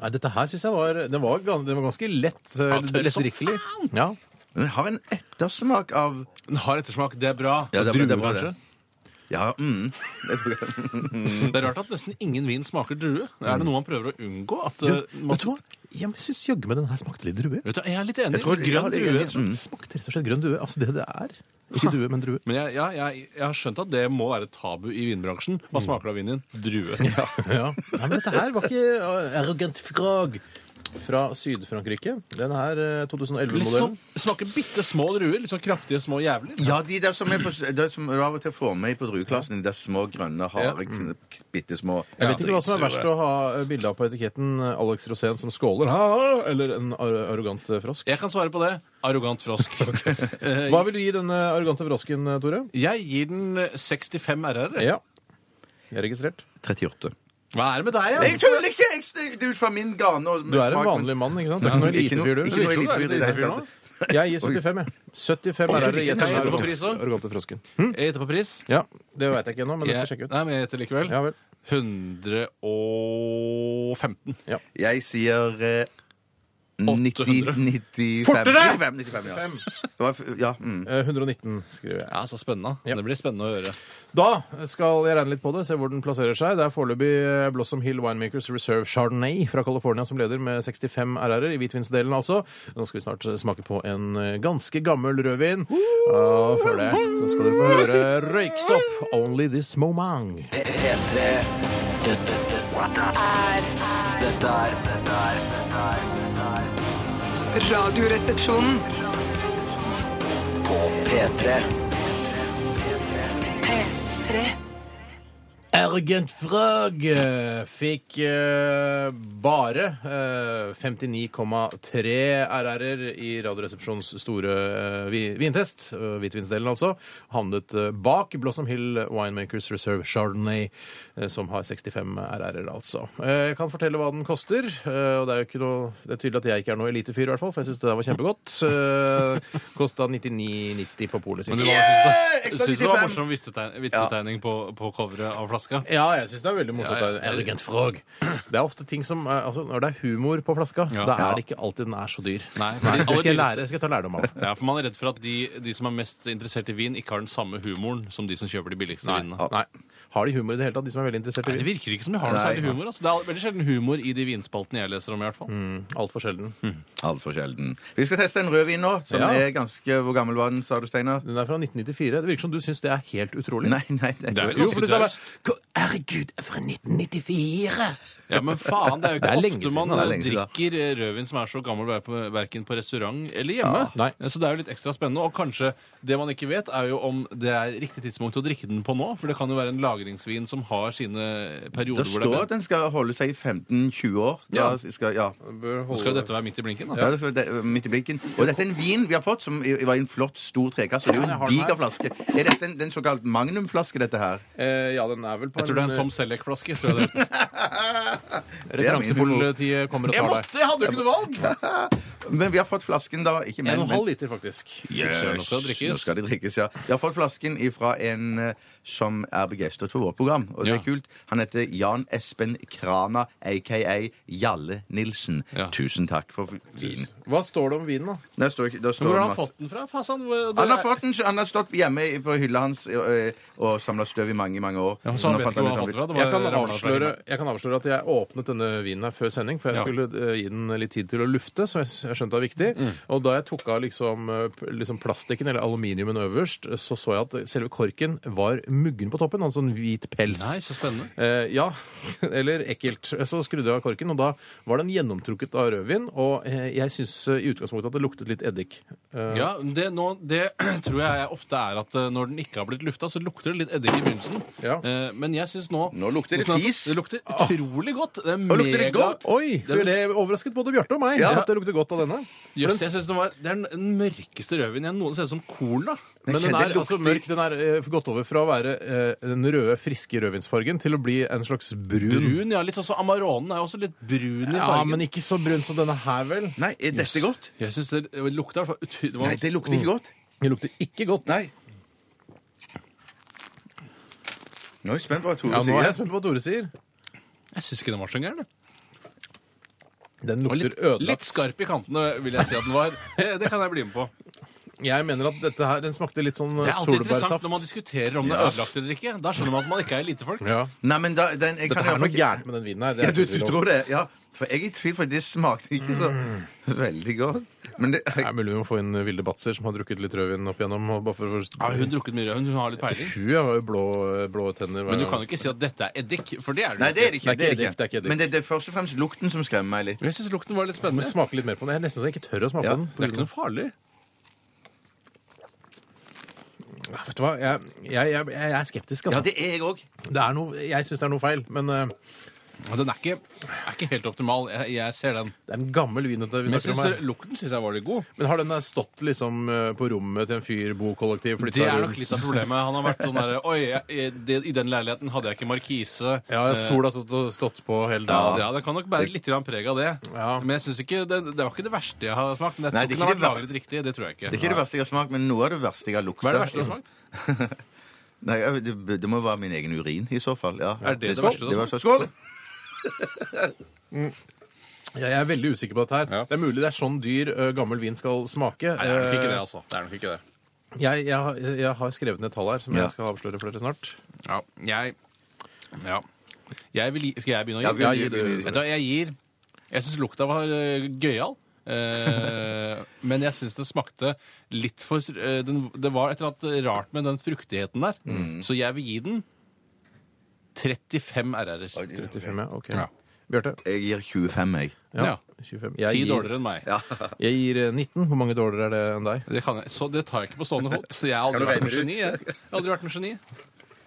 Nei, dette her syns jeg var Den var, gan- den var ganske lett. eh, Ja, tørr som Lettdrikkelig. Ja. Den har en ettersmak av Den har ettersmak. Det er bra. Ja, det er bra, Druer, det er bra, det. kanskje. Ja, mm. Det er rart at nesten ingen vin smaker drue. Mm. Er det noe man prøver å unngå? At, Du, eh, man, vet du hva? Ja, men jeg syns jaggu meg den her smakte litt drue. Vet du, jeg er litt enig. Jeg tror- ja, Grønn det er drue. enig. mm. Det Smakte rett og slett grønn due. Altså det det er. Ikke due, men drue. Men jeg, ja, jeg, jeg har skjønt at det må være et tabu i vinbransjen. Mm. Hva smaker det av vinen din? Drue. Ja. Nei, men dette her var ikke uh, arrogant frag fra Syd-Frankrike. Den her uh, Litt sånn, 2011-modellen. smaker bitte små druer. Litt sånn kraftige, små jævler. ja, de der som, er på, de som du av og til får med på drueklassen, de der små, grønne, harde, ja. bitte små Jeg vet ikke hva som er verst å ha uh, bilde av på etiketten. uh, Alex Rosén som skåler, ha, eller en ar arrogant uh, frosk. Jeg kan svare på det. Arrogant frosk. Eh, Hva vil du gi denne arrogante frosken, uh, Tore? Jeg gir den eh, 65 RR. Ja. Jeg er registrert. 38. Hva er det med deg, Jeg ja? tuller ikke! Jeg, det er ut fra min gane. og Du er en smaken. vanlig mann, ikke sant? Du er ikke noe Ikke noe- elitefyr, ikke du. virker noe som du er en elitefyr i det hele elitefyr tatt. Jeg gir 75, jeg. 75 er det Oi, gjetter jeg gjetter på arrogante- pris også. arrogante frosken. Jeg gjetter på pris. Ja, det veit jeg ikke ennå, men det skal jeg Jeg, sjekke ut. nei, men jeg gjetter likevel. Ja vel. 115. Jeg sier eh, 800. 95. Fortere! 95, 95 ja. Det var, f- ja, mm. Eh, 119, skriver jeg. Ja, så spennende. Ja. Det blir spennende å høre. Da skal jeg regne litt på det, se hvor den plasserer seg. Det er foreløpig eh, Blossom Hill Winemakers Reserve Chardonnay fra California som leder med 65 RR-er, i hvitvinsdelen altså. Nå skal vi snart eh, smake på en eh, ganske gammel rødvin. Ja, før det så skal dere få høre Røyksopp, Only This Momang. P- P3 Dette dette er Dette er dette er- dette er Radioresepsjonen. På P3 P3. Ergent Frøg eh, fikk eh, bare eh, 59,3 RR-er i Radioresepsjonens store eh, vi- vintest, eh, hvitvinsdelen altså, havnet eh, bak Blossom Hill Winemakers Reserve Chardonnay, eh, som har 65 RR-er altså. Eh, jeg kan fortelle hva den koster, eh, og det er jo ikke noe, det er tydelig at jeg ikke er noe elitefyr i hvert fall, for jeg synes det der var kjempegodt. Eh, kostet 99,90 på polet sitt. Men du Yeah! syns Ekstra det var 95. morsom vitsetegn- vitsetegning på, på coveret av flaska? Ja, jeg syns det er veldig morsomt. Ja, ja. Det er en Elegant frog. Det er ofte ting som eh, altså, Når det er humor på flaska, Ja. da er det ikke alltid den er så dyr. Nei, for de det skal jeg, aller dyreste- lære, skal jeg ta lærdom av. Ja, for Man er redd for at de, de som er mest interessert i vin, ikke har den samme humoren som de som kjøper de billigste vinene. Nei. Har de humor i det hele tatt, de som er veldig interessert Nei, i det vin? virker ikke som de har noe Nei. særlig humor. Altså. Det er veldig sjelden humor i de vinspaltene jeg leser om. i hvert fall. Altfor sjelden. Hm. Altfor sjelden. Vi skal teste en rødvin nå, som Ja. er ganske Hvor gammel var den, sa du, Steinar? Den er fra 1994. Det virker som du syns det er helt utrolig. Nei, nei, nei. Det er vel Jo, for du sa bare Ganske "Hva- Herregud, jeg er fra 1994! Ja, Men faen, det er jo Det ikke er lenge ofte siden, man det er eh, lenge siden. drikker eh, rødvin som er så gammel, hver- på- verken på restaurant eller hjemme. Ja. Nei. Så det er jo litt ekstra spennende. Og kanskje det man ikke vet, er jo om det er riktig tidspunkt å drikke den på nå. For det kan jo være en lagringsvin som har sine Det perioder hvor det står er at best. den skal holde seg i 15-20 år. Da Ja. skal, ja. Nå skal jo dette være midt i blinken. da. Ja, det er det- midt i blinken. Og dette er en vin vi har fått, som i- var i en flott, stor trekasse. Det er Ja, jo jeg har en den her. diger flaske. Er dette en, den såkalt magnumflaske, dette her? Eh, ja, den er vel på Jeg tror det er en Tom Selleck-flaske. tror jeg det er. Referansepolitiet kommer og Jeg tar deg. måtte! Jeg hadde jo ikke noe valg! Men vi har fått flasken, da. Ikke men, En og en men- halv liter, faktisk. Yes. Nå skal det drikkes. Nå skal det drikkes, ja. Jeg har fått flasken ifra en eh, som er begeistret for vårt program, og det Ja. er kult. Han heter Jan Espen Krana, aka Jalle Nilsen. Ja. Tusen takk for vin. eh, Hva står det om vinen, da? Der står, ikke- der står Hvor har han masse- fått den fra? Fasan, hvor- Han har, det- fått den, han har stått hjemme i- på hylla hans ø, og samla støv i mange mange år. Ja, Så så han nå vet fant ikke hvor han ut har fått det fra. Det var Jeg kan, ramlet fra avsløre, himmelen. jeg kan avsløre at jeg åpnet denne vinen her før sending, for jeg Ja. skulle eh, gi den litt tid til å lufte, så jeg, s- jeg skjønte det var viktig. Mm. Og da jeg tok av liksom, eh, p- liksom plastikken, eller aluminiumen øverst, eh, så så jeg at selve korken var muggen på toppen, altså en hvit pels. Nei, så spennende. Eh, ja, eller ekkelt. Så skrudde jeg av korken, og da var den gjennomtrukket av rødvin, og eh, jeg syns eh, i utgangspunktet at det luktet litt eddik. Eh, Ja, det, nå, det tror jeg ofte er at eh, når den ikke har blitt lufta, så lukter det litt eddik i begynnelsen. Ja. Eh, Men jeg syns nå Nå lukter det Hvordan er fis. Det lukter utrolig godt. Det er Nå lukter det mega- godt. Oi! Det, det overrasket både Bjarte og meg Ja. at det lukter godt av denne. Jøss, jeg synes det, var, det er den- den mørkeste rødvinen jeg noensinne har sett som korn. da. Men den kjenner er lukter- altså mørk. Den er eh, gått over fra å være eh, den røde, friske rødvinsfargen til å bli en slags brun. Brun, ja. Litt sånn som Amaronen er jo også litt brun i fargen. Ja, men ikke så brun som denne her, vel? Nei, er dette godt? Jeg syns det lukta i hvert fall ut- det var- Nei, det lukter ikke godt. Det lukter ikke godt. Nei. Nå er jeg spent på hva Tore Ja, nå er jeg sier. spent på hva Tore sier. Jeg syns ikke den var så gæren. jeg. Den Den var lukter Litt, litt ødelagt. skarp i kantene, vil jeg si at den var. Det kan jeg bli med på. Jeg mener at dette her, den smakte litt sånn Det eh, er alltid interessant når man solbærsaft. diskuterer om det er ødelagt eller ikke. Da skjønner man at man ikke er elitefolk. Ja. Nei, men da, den, Dette jeg kan i hvert er fall noe ikke- gærent med den vinen her. det er Ja, du, ikke tvil du om. tror det? Ja. For jeg er i tvil, for det smakte ikke så veldig godt. Men det, Det er mulig vi må få inn Vilde Batzer, som har drukket litt rødvin opp igjennom. og Bare for å... Har hun drukket mye rød? Hun har litt peiling. Hun har jo blå, blå tenner. hver Men du gang. kan jo ikke si at dette er eddik, for det er det Nei, det er det Det er ikke ikke. det eddik, det er ikke eddik. Men det, det er først og fremst lukten som stemmer meg litt. Jeg syns lukten var litt Men spennende. smake litt mer på den. Jeg er nesten så jeg ikke tør å smake Ja, på den. Det er ikke noe farlig. Ja, Vet du hva, jeg, jeg, jeg, jeg er skeptisk, altså. Ja, det er jeg òg. Det er noe, jeg syns det er noe feil, men eh, Og Den er ikke, er ikke helt optimal. Jeg, jeg ser den. det er en gammel vin. dette vi Men jeg snakker om synes, her. lukten syns jeg var litt god. Men har den der stått liksom eh, på rommet til en fyr, bokollektiv, flytta Det er nok rundt? litt av problemet. Han har vært sånn derre Oi, jeg, jeg, det, i den leiligheten hadde jeg ikke markise. Ja, sol har stått, stått på hele Ja, dagen. ja, det kan nok bære litt grann preg av det. Ja. Men jeg synes ikke, det, det var ikke det verste jeg har smakt. Men jeg Nei, tror ikke det den er har vært ikke det lagret riktig. Det tror jeg ikke. Det er ikke det verste jeg har smakt, men noe av det verste jeg har lukta. Hva er det verste du har smakt? Nei, jeg- det, det må være min egen urin, i så fall. Ja. Er det det Skål! verste du har var så- Skål! Jeg er veldig usikker på dette her. Ja. Det er mulig det er sånn dyr ø, gammel vin skal smake. Eh, Nei, det er nok ikke det, altså. Det er nok ikke det. Jeg, jeg, har- jeg har skrevet ned tall her som Ja. jeg skal avsløre for dere snart. Ja, jeg, ja. jeg vil, gi- Skal jeg begynne å Ja, gi? begynn, begynn, begynn. Vet du hva, jeg gir Jeg syns lukta var eh, gøyal. Eh, men jeg syns det smakte litt for eh, den, Det var et eller annet rart med den fruktigheten der. Så jeg vil gi den 35 RR-er. 35, ja. Ok. Ja. Bjarte? Jeg gir 25, jeg. Ja. 25. Ti Jeg gir, dårligere enn meg. jeg gir eh, 19. Hvor mange dårligere er det enn deg? Det, kan jeg, så det tar jeg ikke på stående fot. Jeg har aldri Kan du vært regne noe det ut? geni. Jeg. jeg har aldri vært noe geni.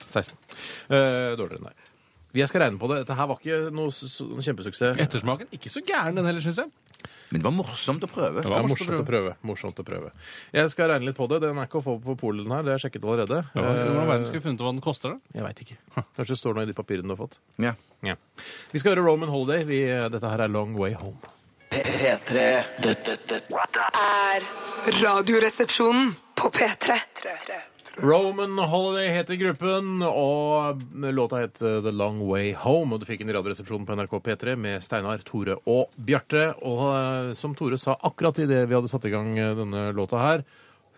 16. Eh, dårligere enn deg. Jeg skal regne på det. Dette her var ikke noe s- s- noen kjempesuksess. Ettersmaken ikke så gæren, den heller, syns jeg. Men det var morsomt å prøve. Det er morsomt å prøve. Morsomt å prøve. Jeg skal regne litt på det. Den er ikke å få på polet, den her. Det har jeg sjekket allerede. Hvordan i Eh, verden skulle vi funnet ut hva den koster, da? jeg veit ikke. Kanskje det står noe i de papirene du har fått. Ja. Ja. Vi skal høre Roman Holiday. Vi, eh, dette her er Long Way Home. P3 Dette Er radioresepsjonen på P3. Roman Holiday heter gruppen, og låta het eh, The Long Way Home. Og du fikk den i Radioresepsjonen på NRK P3 med Steinar, Tore og Bjarte. Og eh, som Tore sa akkurat idet vi hadde satt i gang eh, denne låta her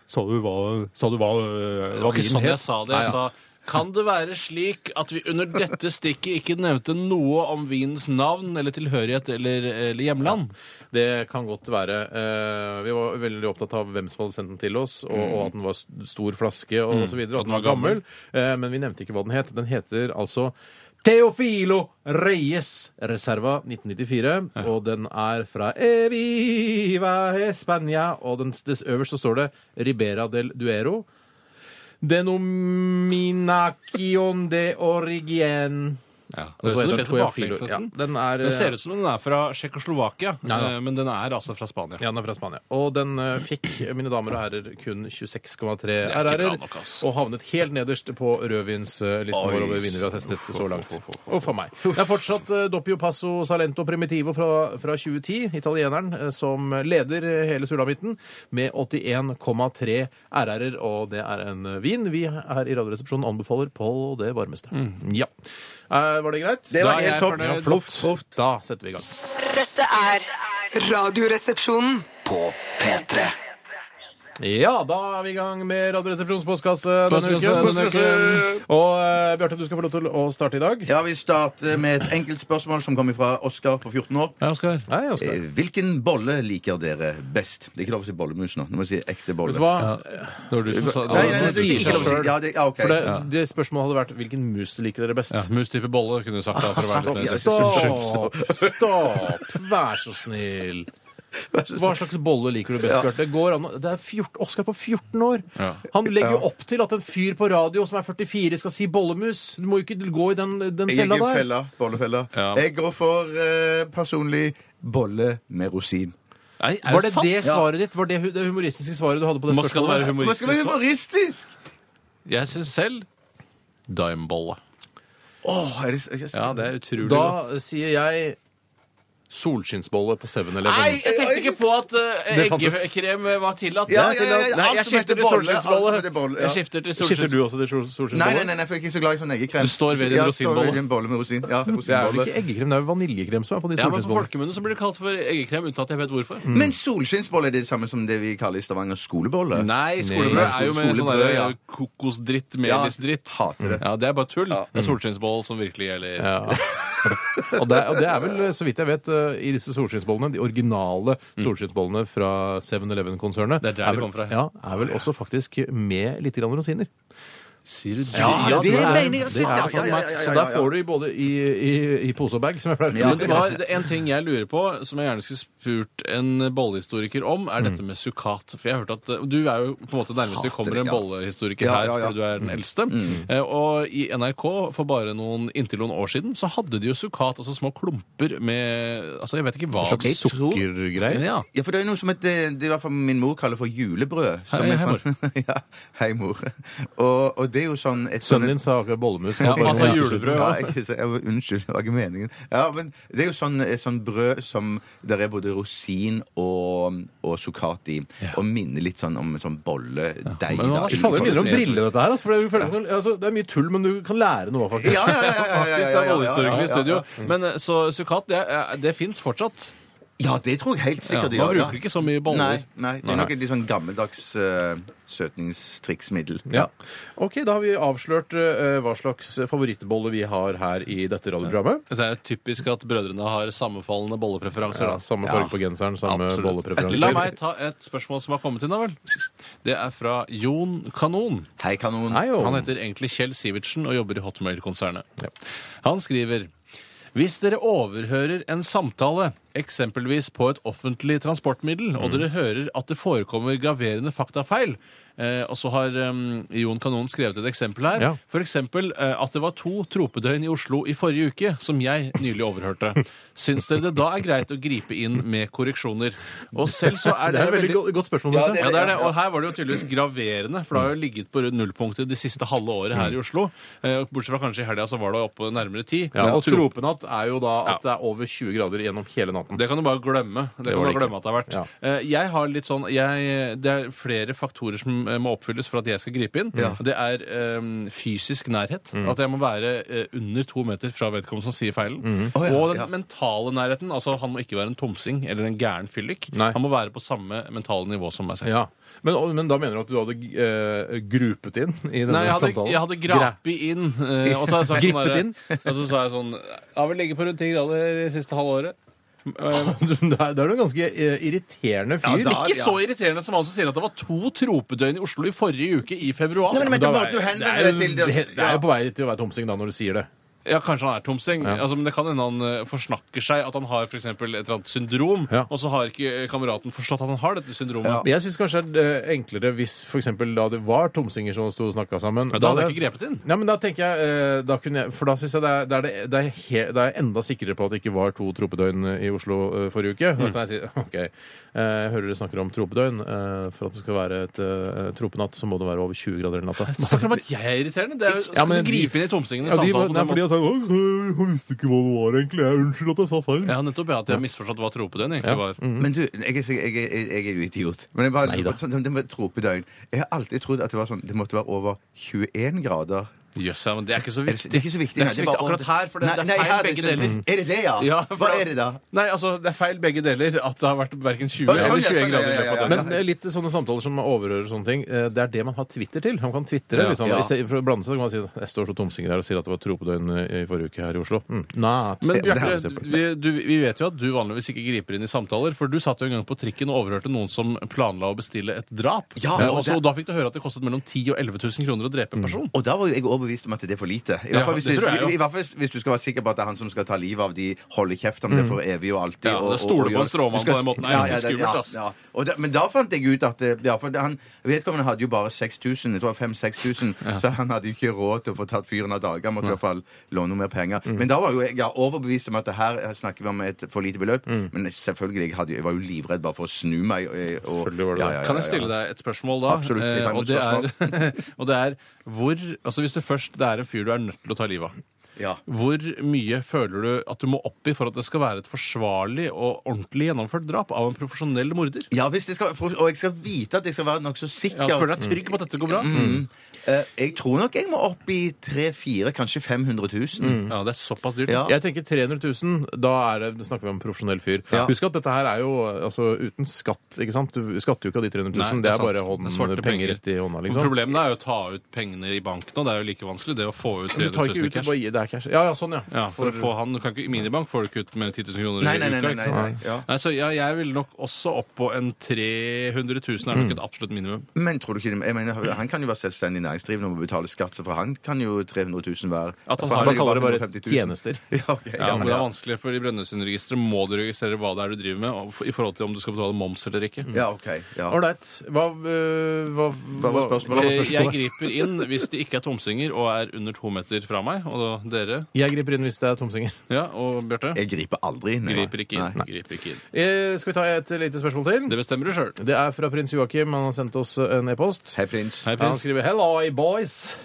Sa du hva, sa du hva, eh, Det hva var ikke vinen sånn het? jeg sa det. Jeg Nei, ja. sa kan det være slik at vi under dette stikket ikke nevnte noe om vinens navn eller tilhørighet eller, eller hjemland? Det kan godt være. Eh, vi var veldig opptatt av hvem som hadde sendt den til oss, og, og at den var s- stor flaske og, og så videre, og Mm. at den var gammel. Eh, men vi nevnte ikke hva den het. Den heter altså Teofilo Reyes Reserva 1994, og den er fra Eviva España. Og den, dess øverst så står det Ribera del Duero. Denominacion de origien. Ja. Og så Så heter du den leser baklengs, Teofilo. Ja, nesten. den er, Det eh, ser ut som den er fra Tsjekkoslovakia, Ja, ja. eh, men den er altså fra Spania. Ja, den er fra Spania. Og den eh, fikk, mine damer og herrer, kun 26,3 ikke bra RR-er. nok, ass. Og havnet helt nederst på rødvinslisten Oi. vår over vinnere vi har testet så langt. Uff a meg. Det er fortsatt eh, Doppio Passo Salento Primitivo fra, fra 2010, italieneren, eh, som leder eh, hele sulamitten med 81,3 RR-er. Og det er en eh, vin vi her i Radioresepsjonen anbefaler på det varmeste. Ja. Eh, var det greit? Det Mm. var Da er helt jeg topp. fornøyd. Ja, flott. Da setter vi i gang. Dette er radioresepsjonen. på P3 Ja, da er vi i gang med Radioresepsjonens postkasse denne Postkasse uken. denne uken. Og uh, Bjarte, du skal få lov til å starte i dag. Ja, Vi starter med et enkelt spørsmål som kommer fra Oskar på 14 år. Ja, Oskar. Nei, Oskar. Eh, Hvilken bolle liker dere best? Det er ikke lov å si bollemus nå. Nå må jeg si ekte Vet bolle. du hva? Det var du som sa Ja, Nei, nei, det nei, det er sier ikke seg lov å si. selv. Ja, det, ja, ok. For det, det spørsmålet hadde vært hvilken mus liker dere best. Ja, Mustype bolle kunne du sagt da. for å være Stopp, litt mer- stopp, stopp! Vær så snill. Hva slags bolle liker du best, Bjarte? Det går an å- Det er 14, Oskar på 14 år. Ja. Han legger jo opp til at en fyr på radio som er 44, skal si bollemus. Du må jo ikke gå i den, den Jeg fella er der. fella. Bollefella. Ja. Jeg går for eh, personlig bolle med rosin. Nei, er Var det sant? det svaret ditt? Var det hu- det humoristiske svaret du hadde på det Må skal det spørsmålet? være Men skal det være humoristisk? humoristisk! Jeg syns selv daimbolle. Åh, er det, er det, Ja, det er utrolig Da godt. sier jeg solskinnsbolle på 7-Eleven. Nei, jeg tenkte ikke på at uh, Det fantes. eggekrem var tillatt. Ja, ja, ja, ja. Nei, Alt jeg som skifter heter til bolle, alt som solskinnsbolle. heter bolle, ja. Jeg skifter til Skifter solskinnsbolle. du også til sol- Nei, solskinnsbolle? nei, nei, nei, for jeg er ikke så glad i sånn eggekrem. Du står ved din Ja, jeg rosinbolle. står ved en bolle med rosin. Ja, Det er vel rosinbolle. ikke eggekrem, det er jo vaniljekrem som er på de Ja, men på solskinnsbollene. folkemunne så blir det kalt for eggekrem, uten at jeg vet hvorfor. Men solskinnsbolle er det det samme som det vi kaller i Stavanger skolebolle? Nei, Nei, skolebrød er jo med sånn skolebrød, der ja. kokosdritt, Ja, melisdritt. hater det. Ja, det er bare tull. Det er solskinnsboll som virkelig gjelder. Ja. og, det, og det er vel, så vidt jeg vet, eh, i disse solskinnsbollene, de originale solskinnsbollene fra 7-Eleven-konsernet Det er der de vel- kom fra. Ja, er vel også faktisk med litt grann rosiner. Sier du det? Ja, Ja, det tror jeg mener jeg Det er sikkert. sånn. Ja, ja, ja, ja, Så ja, der ja. får du i både i, i, i pose og bag, som jeg pleier å Men det var det- en ting jeg lurer på, som jeg gjerne skulle spurt en bollehistoriker om, er Mm. dette med sukkat. For jeg har hørt at eh, Du er jo på en måte nærmest vi kommer en ja. bollehistoriker Ja, her, ja, Mm. ja. fordi du er den eldste. Eh, Og i NRK for bare noen inntil noen år siden så hadde de jo sukkat, altså små klumper med Altså, jeg vet ikke hva En slags Jeg tror- sukkergreier. Ja. Ja, for det er noe som heter, det er i hvert fall min mor kaller for julebrød. som Hei, er hei, sånn- ja, hei, mor. Og, og det er jo sånn et sånn- Sønnen din sa akkurat bollemus. Ja, men han sa julebrød Ja, òg. jeg, jeg, jeg, unnskyld, det var ikke meningen. Ja, men Det er jo sånn, et sånn brød som der er både rosin og, og sukkat i. Og minner litt sånn om en sånn bolledeig. men han da, er Fy faen, det minner om utenfor. briller, dette her. Altså, for det, er jo følelsen- altså, det er mye tull, men du kan lære noe, faktisk. Ja, ja, ja, ja, ja, ja, ja, ja, ja, ja, Faktisk, det er ja, ja, bollehistorikere ja, i ja. studio. Men eh, så sukkat, det, er- det fins eh, fortsatt. Ja, det tror jeg helt sikkert de man gjør. ja. bruker ikke så mye boller. Nei, nei, det er nok et litt sånn gammeldags eh, søtningstriksmiddel. Ja. Ok, da har vi avslørt eh, hva slags favorittbolle vi har her i dette radioprogrammet. Så er det typisk at brødrene har sammenfallende bollepreferanser. Ja, da. samme farge på genseren, samme Absolutt. La bollepreferanser. meg ta et spørsmål som har kommet inn, da vel. Det er fra Jon Kanon. Hei, kanon. Nei, jo. Han heter egentlig Kjell Sivertsen og jobber i Hotmail-konsernet. Han skriver hvis dere overhører en samtale, eksempelvis på et offentlig transportmiddel, Mm. og dere hører at det forekommer graverende faktafeil, eh, og så har eh, Jon Kanon skrevet et eksempel her, Ja. for eksempel eh, at det var to tropedøgn i Oslo i forrige uke, som jeg nylig overhørte. Syns dere det da er greit å gripe inn med korreksjoner? Og selv så er Det er det et veldig veldig go- godt spørsmål. Ja, Nisse. ja, det er det. Og her var det jo tydeligvis graverende, for det har jo ligget på rundt nullpunktet det siste halve året her i Oslo. Eh, Bortsett fra kanskje i helga, så var det oppe nærmere ti. Ja, og Men tro- tropenatt er jo da at det er over 20 grader gjennom hele natten. det kan du bare glemme. var Det, kan du det bare glemme at det har vært. Ja. Eh, Jeg har litt sånn jeg, Det er flere faktorer som eh, må oppfylles for at jeg skal gripe inn. Det er eh, fysisk nærhet. Mm. At jeg må være eh, under to meter fra vedkommende som sier feilen. Mm. Å, ja, og den ja. mentale nærheten. Altså, han må ikke være en tomsing eller en gæren fyllik. Nei. Han må være på samme mentale nivå som meg selv. Ja. Men, og- men da mener du at du hadde eh, grupet inn i denne Nei, jeg hadde, samtalen? jeg hadde grapi inn. eh, Og så, har jeg sagt sånn Gripet der- inn? og så sa jeg sånn Jeg vil ligge på rundt 10 grader det siste halve året. Eh, Du- det er- det er jo en ganske eh, irriterende fyr. Ja, da- Ikke så irriterende som han som sier at det var to tropedøgn i Oslo i forrige uke i februar. Nei, men, men Da det, er- var- du det er jo- henvender deg til det. Eh, det er jo på vei til å være tomsing da når du sier det. Ja, Kanskje han er tomsing, Ja. altså, men det kan hende han eh, forsnakker seg at han har for eksempel et eller annet syndrom, Ja. og så har ikke eh, kameraten forstått at han har dette syndromet. Ja. Men Jeg syns kanskje det er eh, enklere hvis for eksempel, da det var tomsinger som sto og snakka sammen. Men da hadde jeg ikke grepet inn. Ja, men da tenker jeg, eh, da kunne jeg For da syns jeg det er, det, er, det- det, er he, det er jeg enda sikrere på at det ikke var to tropedøgn i Oslo eh, forrige uke. Da Mm. kan jeg si OK, eh, jeg hører dere snakker om tropedøgn. eh, For at det skal være et eh, tropenatt, så må det være over 20 grader hele natta. Så snakker de om at jeg er irriterende. Det er, jo- Ja, skal men du de- gripe inn i tomsingen i Ja, de, samtalen på nei, den fordi måten? jeg sa «Åh, Jeg visste ikke hva det var, egentlig. Jeg Unnskyld at jeg sa feil. Ja, nettopp. Ja, at jeg har misforstått hva tropedøgn egentlig var. Men du, jeg er, sikker- jeg, er- jeg, jeg er jo idiot. Men jeg bare, Neida. sånn, det med tropedøgn Jeg har alltid trodd at det var sånn Det måtte være over 21 grader. Jøss, ja, men det er ikke så Er det, viktig. det er ikke så Det viktig. er nei, ikke så bare viktig over- akkurat her, for det, Nei, det nei, er her feil det begge ikke- deler. Er det det, ja? Ja, Hva for- er det da? Nei, altså, det er feil begge deler at det har vært verken 20 Å, sånn, eller ja, 20 sånn, grader i løpet ja, ja, ja, av ja. dagen. Men eh, litt sånne samtaler som overhører sånne ting, eh, det er det man har Twitter til. Man kan twittre. Ja. Liksom. Ja. I stedet For å blande seg så kan man si jeg står så tomsinger her og sier at det var tropedøgn eh, i forrige uke her i Oslo. Mm. Nei, Men det- det er Bjarte, et eksempel. vi, du, vi vet jo at du vanligvis ikke griper inn i samtaler, for du satt jo en gang på trikken og overhørte noen som planla å bestille et drap. Ja, Eh, og og så- det- Mm. da fikk du høre at det kostet mellom 10 og 11 000 kroner å drepe en person. Og da var jo jeg overbevist om at det er for lite. I hvert fall hvis, det tror jeg jo. du, i hvert fall hvis- hvis du skal være sikker på at det er han som skal ta livet av de, holde kjeft om det for evig og Mm. alltid. Ja, og- det stoler på og- og en gjøre- stråmann Du skal- på den måten er ganske det- skummelt, ass. ja. Og da, men da fant jeg ut at eh, ja, for han, Vedkommende hadde jo bare 6000, jeg tror 5000-6000, så han hadde jo ikke råd til å få tatt fyren av dage. Han måtte i hvert fall låne noe mer penger. Mm. Men da var jo jeg ja, overbevist om at det her snakker vi om et for lite beløp. Mm. Men selvfølgelig, jeg, hadde, jo- jeg var jo livredd bare for å snu meg. Og, og, Selvfølgelig var du det. Kan jeg stille deg et spørsmål da? Absolutt, vi tar Eh, med og, det er, og det er hvor Altså hvis du først Det er en fyr du er nødt til å ta livet av. Ja. Hvor mye føler du at du må opp i for at det skal være et forsvarlig og ordentlig gjennomført drap av en profesjonell morder? Ja, hvis det skal, og jeg skal vite at jeg skal være nokså sikker. Ja, føler deg trygg på at dette går bra? Eh, jeg tror nok jeg må opp i 3-4, kanskje 500 000. Ja, det er såpass dyrt. Mm. Ja. Jeg tenker 300 000, da er det, da snakker vi om en profesjonell fyr. Ja. Husk at dette her er jo altså, uten skatt, ikke sant? Du skatter jo ikke av de 300 000, Nei, det er, sant. bare Det hånden, er svarte penger, rett i hånda, Og liksom. Problemet er jo å ta ut pengene i banken, og det er jo like vanskelig det å få ut Du tar 300 ikke 000 i ut, du cash. bare gir, det er cash. Ja, ja, sånn, ja. Ja, for, å få han, du kan ikke, I minibank får du ikke ut mer enn 10 000 kroner Nei, nei, nei, i uka. nei, ikke sant? nei, nei, ja. Nei, så ja, jeg ville nok også opp på en 300 000 er nok Mm. et absolutt minimum. Men tror du ikke det? Jeg mener, han kan jo være selvstendig næringsdrivende og må betale skatt, så for han kan jo 300 000 hver. At han For har- har Man jo kaller det bare 150 000. tjenester. Ja, ok, ja, Ja, men Det ja. er vanskelig, for i Brønnøysundregisteret må du registrere hva det er du driver med, og f- i forhold til om du skal betale moms eller ikke. ja, ok. Ja. Ålreit. Hva, øh, hva, Hva var spørsmålet? Eh, Jeg griper inn hvis de ikke er tomsinger og er under to meter fra meg. Og da dere. Jeg griper inn hvis det er tomsinger. Ja, og Bjarte. Jeg griper aldri inn. jeg. Griper ikke inn. Nei. Griper ikke inn. Eh, Skal vi ta et lite spørsmål til? Det bestemmer du sjøl. Det er fra prins Joakim. Han har sendt oss en e-post. Hei, prins. Hei, Han prins. skriver 'Hello, boys'.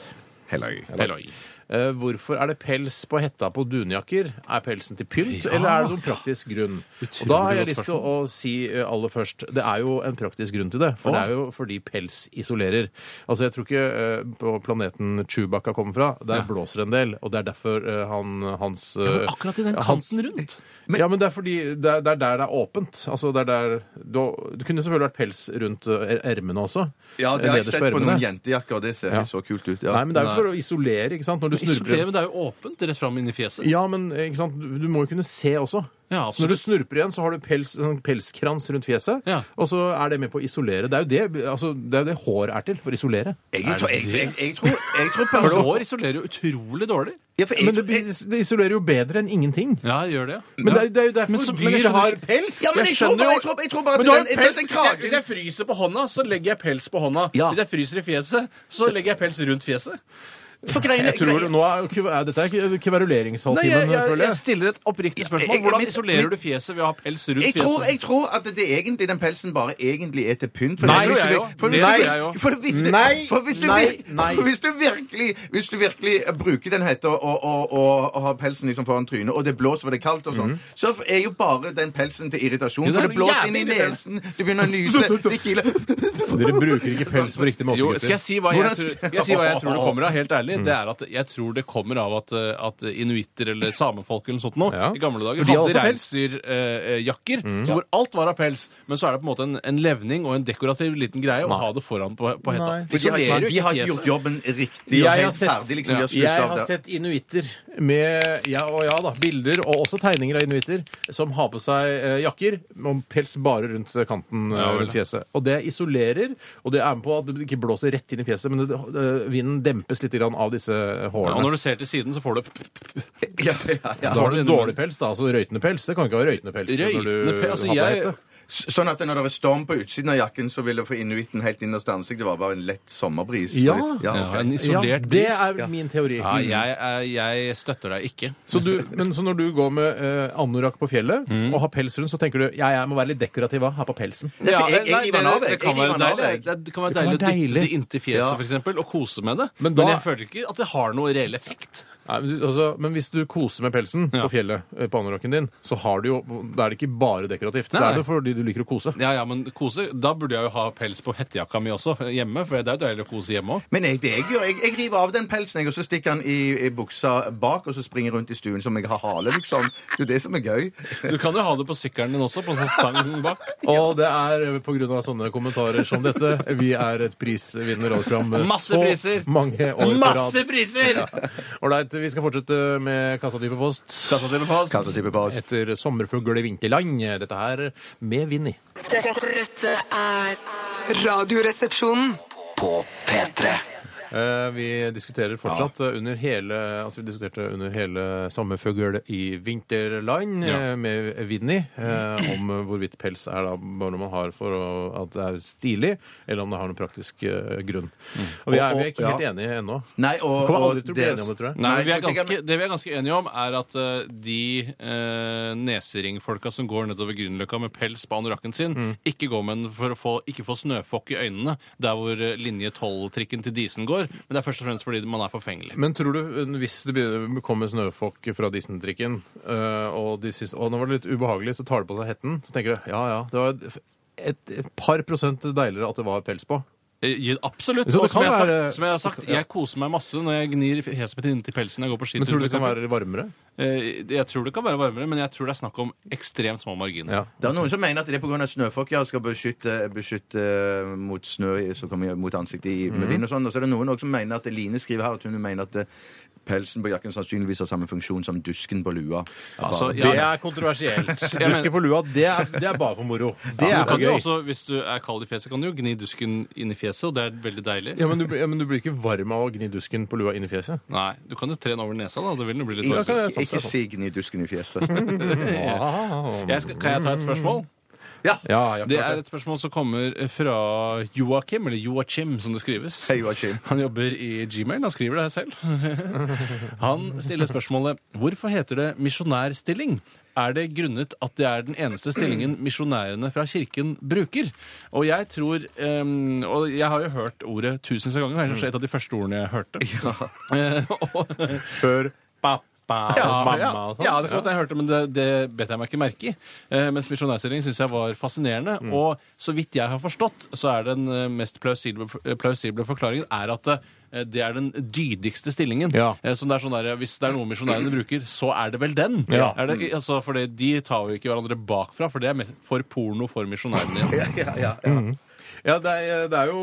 Hello. Hei, Loi. eh, hvorfor er det pels på hetta på dunjakker? Er pelsen til pynt, eller er det noen praktisk grunn? Og da har jeg lyst til å si eh, aller først Det er jo en praktisk grunn til det. For det er jo fordi pels isolerer. Altså, jeg tror ikke eh, på planeten Chewbacca kommer fra, der blåser det en del. Og det er derfor eh, han, hans eh, Akkurat i den hans- kanten rundt. ja, men det er fordi det er, det er der det er åpent. Altså, det er der du, Det kunne selvfølgelig vært pels rundt eh, ermene også. Ja, det har jeg Nederst sett på på noen ermene. jentejakker, og det ser Ja. helt så kult ut. Ja. Nei, men det er jo for å isolere, ikke sant? Når du snurper Isolere, men det er jo åpent rett fram inni fjeset. Ja, men ikke sant? Du du må jo kunne se også. Ja, Så når du absolutt. snurper igjen, så har du pels, sånn pelskrans rundt fjeset, Ja. og så er det med på å isolere. Det er jo det, altså, det, er jo det hår er til, for å isolere. Jeg, tror- jeg, jeg, jeg, jeg tror, jeg tror For person- hår isolerer jo utrolig dårlig. Ja, for jeg Men tror- det, blir- det isolerer jo bedre enn ingenting. Ja, gjør det. ja. Men det er, det er jo derfor Men så- men jeg dyr skjønner- har pels. Ja, men jeg tror bare- jeg tror- jeg tror bare at Men du har den- en jeg tror pels. at den Hvis jeg- kragen- Hvis jeg fryser på hånda, så legger jeg pels på hånda. Ja. Hvis jeg fryser i fjeset, så legger jeg pels rundt fjeset. for greiene- Jeg tror greiene- nå er, jo ikke- er Dette er ikke Nei, kveruleringshalvtimen, jeg, jeg, føler jeg jeg. stiller et oppriktig Jeg- spørsmål. jeg- Hvordan mitt- isolerer mitt- du fjeset ved å ha pels rundt jeg tror, fjeset? jeg tror at det egentlig, den pelsen bare egentlig er til pynt. For Nei, det- tror jeg jo. for- Det for- tror jeg jo. for hvis du- Nei, for hvis du nei, vir- nei. for Hvis du virkelig Hvis du virkelig bruker den hette og, og, og, og, og har pelsen liksom foran trynet, og det blåser for det er kaldt og sånn, så er jo bare den pelsen til Mhm. irritasjon. det for er det blåser jævlig inn i irriterende. nesen, du begynner å nyse, det kiler Dere bruker ikke pels på riktig måte, Jo, gutter. skal jeg si hva jeg, Hvordan- tror, jeg, si hva jeg tror det kommer av? Helt ærlig, det er at jeg tror det kommer av at, eh, at inuitter eller samefolk eller sånt noe, Ja. i gamle dager For de har hadde også reinsdyrjakker så hvor alt var av pels. Men så er det på en måte en, en levning og en dekorativ liten greie å ha det foran på, på hetta. Nei. Sånn Det De har, isolerer jo de ikke har ikke gjort fjeset. jobben riktig og Jeg har helt sett- ferdig. liksom, de har sluttet Jeg av har det. sett inuitter med ja og ja da, bilder og også tegninger av inuitter som har på seg eh, jakker og pels bare rundt kanten eh, Ja, vel. rundt fjeset. Og det isolerer, og det er med på at det ikke blåser rett inn i fjeset, men det, eh, vinden dempes litt grann av disse Ja, og hårene. når du ser til siden, så får du Ja, ja, ja. da har du dårlig pels, da. Altså røytende pels. Det kan ikke være røytende pels. når du Røytende pels, altså, har på jeg- hette. S- Sånn at når det er storm på utsiden av jakken, så vil det for inuitten helt innerst ansikt Det var bare en lett sommerbris. Ja. Ja, en isolert ja, det bris. er Mm. min teori. Mm. Ja, jeg, er- jeg støtter deg ikke. Så, du, men, så når du går med eh, anorakk på fjellet Mm. og har pels rundt, så tenker du ja, jeg må være litt dekorativ av, ha på pelsen. Ja, Ja, for jeg- nei, jeg nei, river den av, det, det jeg. kan Jeg være river den av, deilig, jeg. det, det kan være kan deilig å være dytte deilig. det inntil fjeset Ja. for eksempel, og kose med det. Men Men, da- jeg føler ikke at det har noe reell effekt. Nei, men, du- altså, men hvis du koser med pelsen på fjellet eh, på anorakken din, så har du jo, da er det ikke bare dekorativt. Da Nei. er det fordi du liker å kose. Ja, ja, men kose, Da burde jeg jo ha pels på hettejakka mi også, hjemme. For det er jo deilig å kose hjemme òg. Men jeg, det jeg gjør, jeg, jeg river av den pelsen, jeg, og så stikker den i, i buksa bak, og så springer jeg rundt i stuen som jeg har hale, liksom. Det er jo det som er gøy. Du kan jo ha det på sykkelen din også, på en sånn stang bak. Og det er eh, pga. sånne kommentarer som dette. Vi er et prisvinnende radioprogram eh, Masse så priser. mange år på rad. Masse priser! Ålreit, vi skal fortsette med Kassa dype post Kassa type på oss. etter Sommerfugl i vinterland. Dette her med Vinni. Dette, dette er Radioresepsjonen. På P3. Eh, Vi diskuterer fortsatt eh, under hele altså vi diskuterte under hele sommerfugl i vinterland Ja. eh, med Vinni eh, om eh, hvorvidt pels er da bare noe man har for å, at det er stilig, eller om det har noen praktisk eh, grunn. Og vi er, vi er ikke Og- og- helt enige ennå. Nei, og, Kommer og aldri til å bli enige om det, tror jeg. Nei, men vi er jeg tenker- ganske, Det vi er ganske enige om, er at eh, de eh, neseringfolka som går nedover Grünerløkka med pels på anorakken sin, ikke går med den for å få, ikke få snøfokk i øynene der hvor eh, linje 12-trikken til Disen går. Men det er først og fremst fordi man er forfengelig. Men tror du, eh, hvis det begynner- kommer snøfokk fra Disney-trikken, eh, og, de siste- og nå var det litt ubehagelig, så tar du på seg hetten, så tenker du ja ja, det var et, et, et par prosent deiligere at det var pels på. Eh, ja, Absolutt. Så det Og kan som jeg, har være- sagt, som jeg har sagt, jeg koser meg masse når jeg gnir fjeset mitt inntil pelsen når jeg går på skitur. Men tror du det for kan være eksempel. varmere? Eh, Jeg tror det kan være varmere, men jeg tror det er snakk om ekstremt små marginer. Ja. Det er noen som mener at det er pga. snøfokk ja, og skal beskytte, beskytte eh, mot snø i- som kommer mot ansiktet i, Mhm. med vind og sånn. Og så er det noen også som mener at Line skriver her at hun mener at eh, pelsen på jakken sannsynligvis har samme funksjon som dusken på lua. Altså, Det ja, er kontroversielt. men- Duske på lua, det er, det er bare for moro. Det men er du for kan jo gøy. også, hvis du er kald i fjeset, kan du jo gni dusken inn i fjeset, og det er veldig deilig. Ja men, du, blir- ja, men du blir ikke varm av å gni dusken på lua inn i fjeset? Nei, du kan jo tre den over nesa, da. Det vil jo bli litt Ikke, Ja, kan varmt. jeg- sant, det er ikke sant. sign i dusken i fjeset. Ah. Jeg skal, kan jeg ta et spørsmål? Ja. Ja, ja, Det klart er et spørsmål som kommer fra Joakim, eller Joachim, som det skrives. Hei, Joachim. Han jobber i Gmail. Han skriver det her selv. Han stiller spørsmålet hvorfor heter det misjonærstilling? Er det grunnet at det er den eneste stillingen misjonærene fra kirken bruker? Og jeg tror ehm, Og jeg har jo hørt ordet tusenvis av ganger. Det er kanskje et av de første ordene jeg hørte. Eh, og, Før pappa ja, og mamma ja, og sånn. ja, det kan godt jeg hørte, men det, det bet jeg meg ikke merke i. Eh, mens misjonærstilling syns jeg var fascinerende. Mm. Og så vidt jeg har forstått, så er den eh, mest plausible, eh, plausible forklaringen er at eh, det er den dydigste stillingen. Ja. Eh, Som det er sånn der, Hvis det er noe misjonærene bruker, så er det vel den. Ja. Mm. Er det, altså, for det, de tar jo ikke hverandre bakfra, for det er mest for porno for misjonærene. igjen. Ja, ja, ja. Ja, det er, det er jo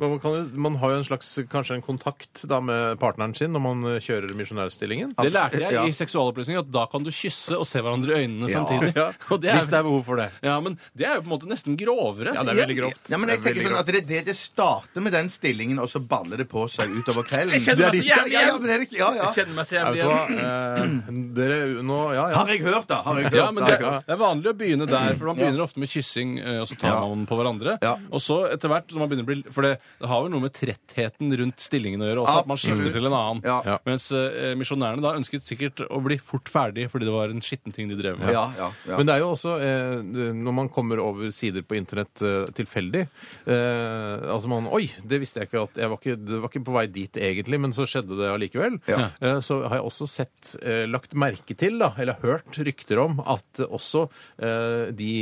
man, kan jo man har jo en slags kanskje en kontakt da med partneren sin når man kjører misjonærstillingen. Det lærte jeg Ja. i seksualopplysning, at da kan du kysse og se hverandre i øynene samtidig. Ja, Og det er, Hvis det er behov for det. ja, men det er jo på en måte nesten grovere. Ja, det er veldig grovt. Ja, men Det er jeg tenker veldig sånn at det, er det, det starter med den stillingen, og så baller det på seg utover kvelden. Jeg kjenner meg Det er så jævlig de- ja, ja, igjen. men er det ikke- ja, ja. kjenner meg så Ja, Vet du hva? Eh, dere nå Ja, ja. Har jeg hørt, da? Har jeg hørt, Ja, men det, da? det er vanlig å begynne der, for man begynner ofte med kyssing, eh, og så tar Ja. man på hverandre. Ja. Og så etter hvert, når man begynner å bli For det, det har vel noe med trettheten rundt stillingen å gjøre også, at man skifter Absolutt. til en annen. Ja. Ja. Mens eh, misjonærene da ønsket sikkert å bli fort ferdig fordi det var en skitten ting de drev med. Ja, ja, ja. Men det er jo også, eh, når man kommer over sider på internett eh, tilfeldig eh, Altså man Oi, det visste jeg ikke at jeg var ikke, Det var ikke på vei dit egentlig, men så skjedde det allikevel. Ja. Eh, så har jeg også sett, eh, lagt merke til, da, eller hørt rykter om, at også eh, de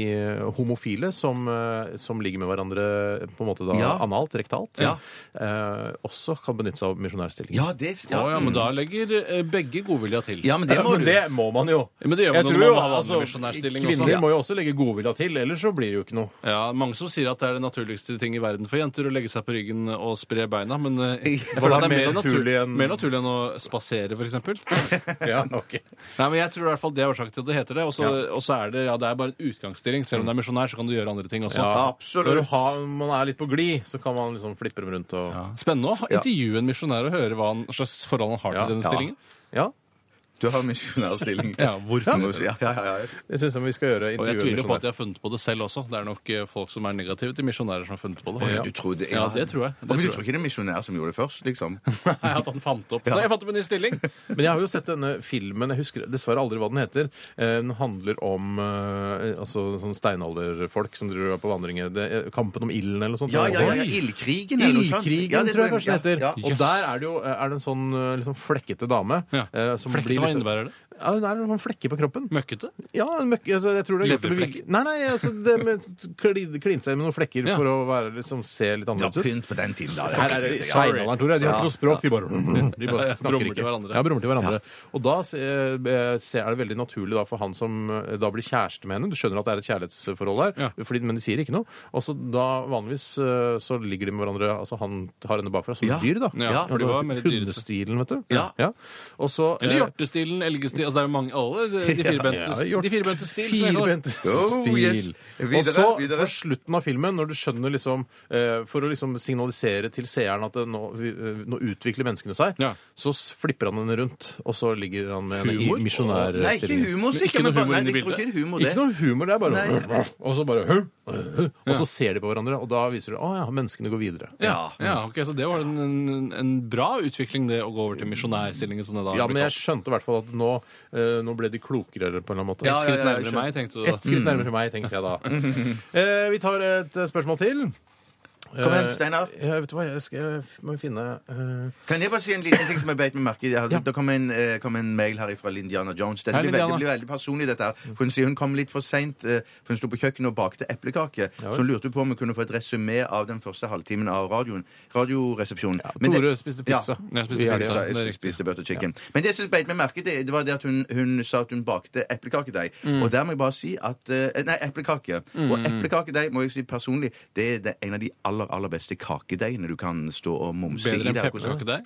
homofile som, eh, som ligger med hverandre på en måte da Ja. analt, rektalt, Ja. eh, også kan benytte seg av misjonærstillingen. ja, det Å, ja. ja, men da legger eh, begge godvilja til. ja, men det må Eh, men du. det må man jo. Men det gjør man Jeg når tror man jo, har vanlig altså, misjonærstilling også. Kvinner må jo også legge godvilja til, ellers så blir det jo ikke noe. Ja, Mange som sier at det er det naturligste ting i verden for jenter å legge seg på ryggen og spre beina, men eh, jeg føler Hva at det er mer naturlig, naturlig enn- mer naturlig enn å spasere, f.eks. Ja, ok. Nei, men jeg tror i hvert fall det er årsaken til at det heter det. Og så og så er det ja, det er bare en utgangsstilling. Selv om det er misjonær, så kan du gjøre andre ting også. Ja. Absolutt. Når du har, man er litt på glid, så kan man liksom flippe dem rundt og Ja, Spennende å ha- intervjue en misjonær og høre hva han, slags forhold han har til Ja. denne Ja. stillingen. Du har misjonærstilling. Ja, hvorfor? Ja, ja, ja, ja. det syns jeg vi skal gjøre. sånn Og jeg Intervjue tviler på at misjonær. de har funnet på det selv også. Det er nok eh, folk som er negative til misjonærer som har funnet på det. Ja, Du tror det, Ja, det tror jeg. Det Hvorfor tror du jeg. tror ikke det er misjonær som gjorde det først, liksom? Nei, at han fant opp. Så jeg fant opp en ny stilling! Men jeg har jo sett denne filmen, jeg husker dessverre aldri hva den heter. Eh, Den handler om eh, altså, sånn steinalderfolk som driver på vandringer. Det, eh, kampen om ilden eller noe sånt. Ja, ja, ja, ja. Oi! Ildkrigen, eller noe sånt. Ildkrigen, Ja, det tror jeg kanskje det heter. ja, ja. Og der er det jo er det en sånn eh, liksom flekkete dame. Ja. eh, som blir Flekkete, hva liksom- innebærer det? Ja, Hun er noen flekker på kroppen. Møkkete. Ja, en møkk, altså, jeg tror det er gjort med vilje. Leverflekker? Nei, nei, altså, det med klin- kline seg med noen flekker Ja. for å være, liksom, se litt Det var annerledes ut. pynt på den tiden, da. Her er det steinalderen, Tore. De har Ja. ikke noe språk. De bare, de bare snakker Brummer ikke. til hverandre. Ja, brummer til hverandre. Og da se- eh, se- er det veldig naturlig da, for han som eh, da blir kjæreste med henne. Du skjønner at det er et kjærlighetsforhold der, Ja. fordi, men de sier ikke noe. Og så da vanligvis eh, så ligger de med hverandre, altså han tar henne bakfra som Ja. dyr, da. Altså Ja, for de var mer dyrete. Hundestilen, vet du. Ja. Og så eh, Eller hjortestilen, elgestilen Altså det er jo mange alle de, de firbentes, Ja, ja, de firbentes stil. som jeg kaller det. Firbent Oh, stil. yes. Videre, og så videre. på slutten av filmen, når du skjønner liksom eh, For å liksom signalisere til seeren at det, nå, vi, eh, nå utvikler menneskene seg, Ja. så s- flipper han henne rundt, og så ligger han med henne Humor? i Nei, ikke misjonærstilling. humor, Men ikke sikkert. noe men bare- humor inn Nei, i jeg tror bildet. ikke det er humor, det. Ikke noe humor, det er bare Nei. Og så bare «Hm, hm», Og så ser de på hverandre, og da viser det Å ja, menneskene går videre. Ja, ja, ok, Så det var en, en, en bra utvikling, det å gå over til misjonærstillingen. Som det da Ja, ble men jeg kalt. skjønte i hvert fall at nå, eh, nå ble de klokere på en eller annen måte. Et Ja, ja, skritt ja, jeg nærmere meg, tenkte du da. Mm. Et skritt nærmere meg, tenkte jeg da. Eh, vi tar et eh, spørsmål til. Kom igjen, Steinar. Jeg vet du hva, jeg, skal, jeg må jo finne eh, Kan jeg bare si en liten ting som jeg beit meg merke i? Jeg hadde- Det kom en, eh, kom en mail her fra Lindiana Jones. Dette Hei, blir Lindiana. veldig, blir veldig personlig, dette her. For hun sier hun kom litt for seint, eh, for hun sto på kjøkkenet og bakte Ja eplekake. Så vel. hun lurte på om hun kunne få et resymé av den første halvtimen av radioen. Radioresepsjonen. Men det- Tore spiste pizza. Ja. Jeg spiste Vi er det. pizza. Så det er jeg riktig. spiste butter chicken. Men det som beit meg merke, det, det var det at hun, hun sa at hun bakte eplekakedeig. Mm. Og der må jeg bare si at eh, Nei, eplekake. Og eplekakedeig må jeg si personlig, det er det, en av de aller, aller beste kakedeigene du kan stå og mumse i. Bedre enn der. pepperkakedeig?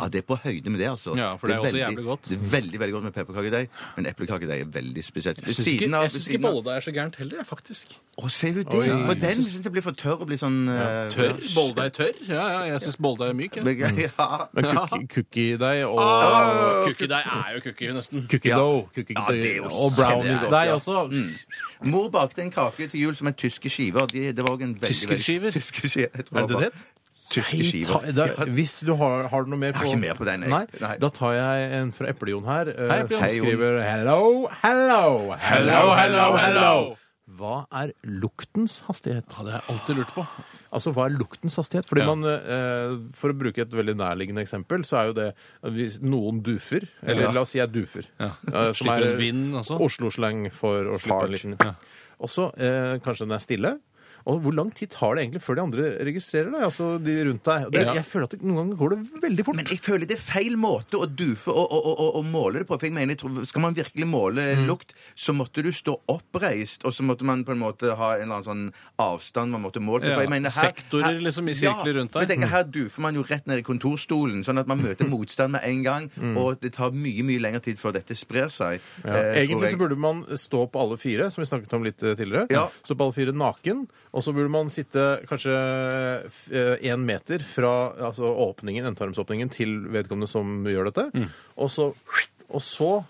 Ja, det er på høyde med det, altså. Ja, for det er også veldig- jævlig godt. Det er veldig veldig godt med pepperkakedeig, men eplekakedeig er veldig spesielt. Jeg syns ikke, jeg syns ikke bolledeig er så gærent heller, jeg, faktisk. Å, ser du det? Oi, for jeg den syns- syns jeg blir for tørr og blir sånn eh, Tørr? Mm. Bolledeig tørr? Ja, ja, jeg syns bolledeig er myk. jeg. Ja. Men cookie- cookiedeig og Cookiedeig er jo cookie, nesten. cookie Ah! Ja. dough cookie Ja, det er jo og brownies-deig kjempegodt, ja. også. Mor bakte en kake til jul som er tyske skiver. og De, det var også en veldig, Tyskerskiver? veldig- Tyske skiver? jeg tror Er det var- det? Tyske Nei, skiver. ta, da, hvis du har, har du noe mer på har ikke mer på den, jeg. Nei, Nei. Da tar jeg en fra Eple-Jon her, eh, Hei, Eple-Jon. som Hei, Jon. skriver hello, hello, hello, hello, hello. Hva er luktens hastighet? Ja, det har jeg alltid lurt på. Altså, hva er luktens hastighet? Fordi Ja. man, eh, For å bruke et veldig nærliggende eksempel, så er jo det at hvis noen dufer Eller Ja. la oss si jeg dufer. Ja. eh, som Slipper er en vind også? Oslo-slang for å slippe Fart. en liten Ja. Og så eh, kanskje den er stille. Og hvor lang tid tar det egentlig før de andre registrerer deg? Altså de rundt deg. Det, Ja. Jeg føler at det, noen ganger går det veldig fort. Men jeg føler det er feil måte å dufe og, og, og, og måle det på. For jeg mener, jeg tror, Skal man virkelig måle Mm. lukt, så måtte du stå oppreist, og så måtte man på en måte ha en eller annen sånn avstand man måtte måle til. For Ja, jeg mener, sektorer liksom i sirkler rundt for jeg deg. tenker, Her dufer man jo rett ned i kontorstolen, sånn at man møter motstand med en gang, Mm. og det tar mye mye lengre tid før dette sprer seg. Eh, Ja. Egentlig så burde man stå på alle fire, som vi snakket om litt eh, tidligere. Ja. Stå på alle fire naken, og så burde man sitte kanskje én meter fra altså, åpningen, endetarmsåpningen til vedkommende som gjør dette, Mm. og så og så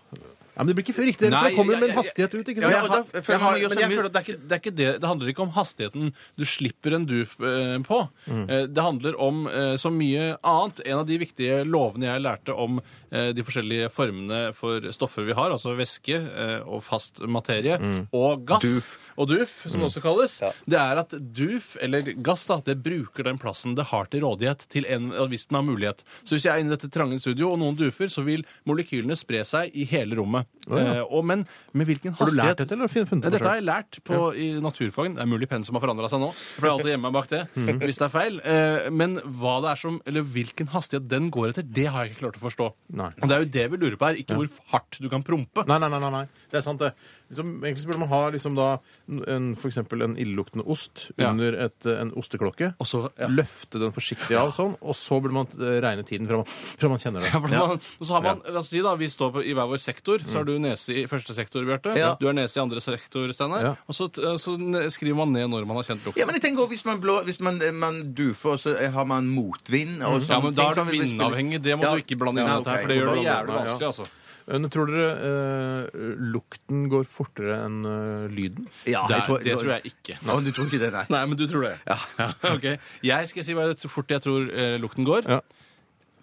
ja, men Det blir ikke riktig, for Nei, det kommer jeg- med en jeg- hastighet ut. ikke Ja, sant? jeg har, og da jeg føler man har, gjør men seg jeg mye- føler at det, er ikke, det er ikke det Det handler ikke om hastigheten du slipper en duf eh, på. Eh, Det handler om eh, så mye annet. En av de viktige lovene jeg lærte om eh, de forskjellige formene for stoffer vi har, altså væske eh, og fast materie, og gass og duf, som det også kalles, det er at duf, eller gass, da, det bruker den plassen det har til rådighet, til en, hvis den har mulighet. Så hvis jeg er inne i dette trange studio, og noen dufer, så vil molekylene spre seg i hele rommet. Eh, og, men med hvilken Har du lært hastighet- dette, eller har du funnet Nei, det Dette på selv? har jeg lært på, i naturfagen. Det er mulig pensum har forandra seg nå. Jeg pleier alltid å gjemme meg bak det hvis det er feil. Eh, Men hva det er som, eller hvilken hastighet den går etter, det har jeg ikke klart å forstå. Nei. Og det er jo det vi lurer på her, ikke hvor hardt du kan prompe. Nei, nei, nei, nei, nei. Det er sant, det. Liksom, egentlig så burde man ha liksom, da, en, for eksempel en illeluktende ost Ja. under et, eh, en osteklokke. Og så- ja. Løfte den forsiktig av sånn, og så burde man eh, regne tiden fra man, fra man kjenner det. Ja, for Man, og så har man, la oss si da, Vi står på, i hver vår sektor. Så har du nese i første sektor, Bjarte. Ja. Du har nese i andre sektor, Steinar. Ja. Og så, eh, så skriver man ned når man har kjent lukten. Ja, men jeg tenker også, Hvis man, blå, hvis man, eh, man dufer, så eh, har man motvind. Og sånne Mm. Ja, men sånn ting Da er som du vil bli spill- vindavhengig. Det må Ja. du ikke blande inn i Ja, dette, her, ok. for det gjør det Da- jævlig ja. vanskelig. altså. Men tror dere eh, lukten går fortere enn eh, lyden? Ja, Det, jeg er, det tror jeg ikke. Å, du tror ikke det, nei? Nei, men du tror det. Ja. ok. Jeg skal si hva jeg, så fort jeg tror eh, lukten går. Ja.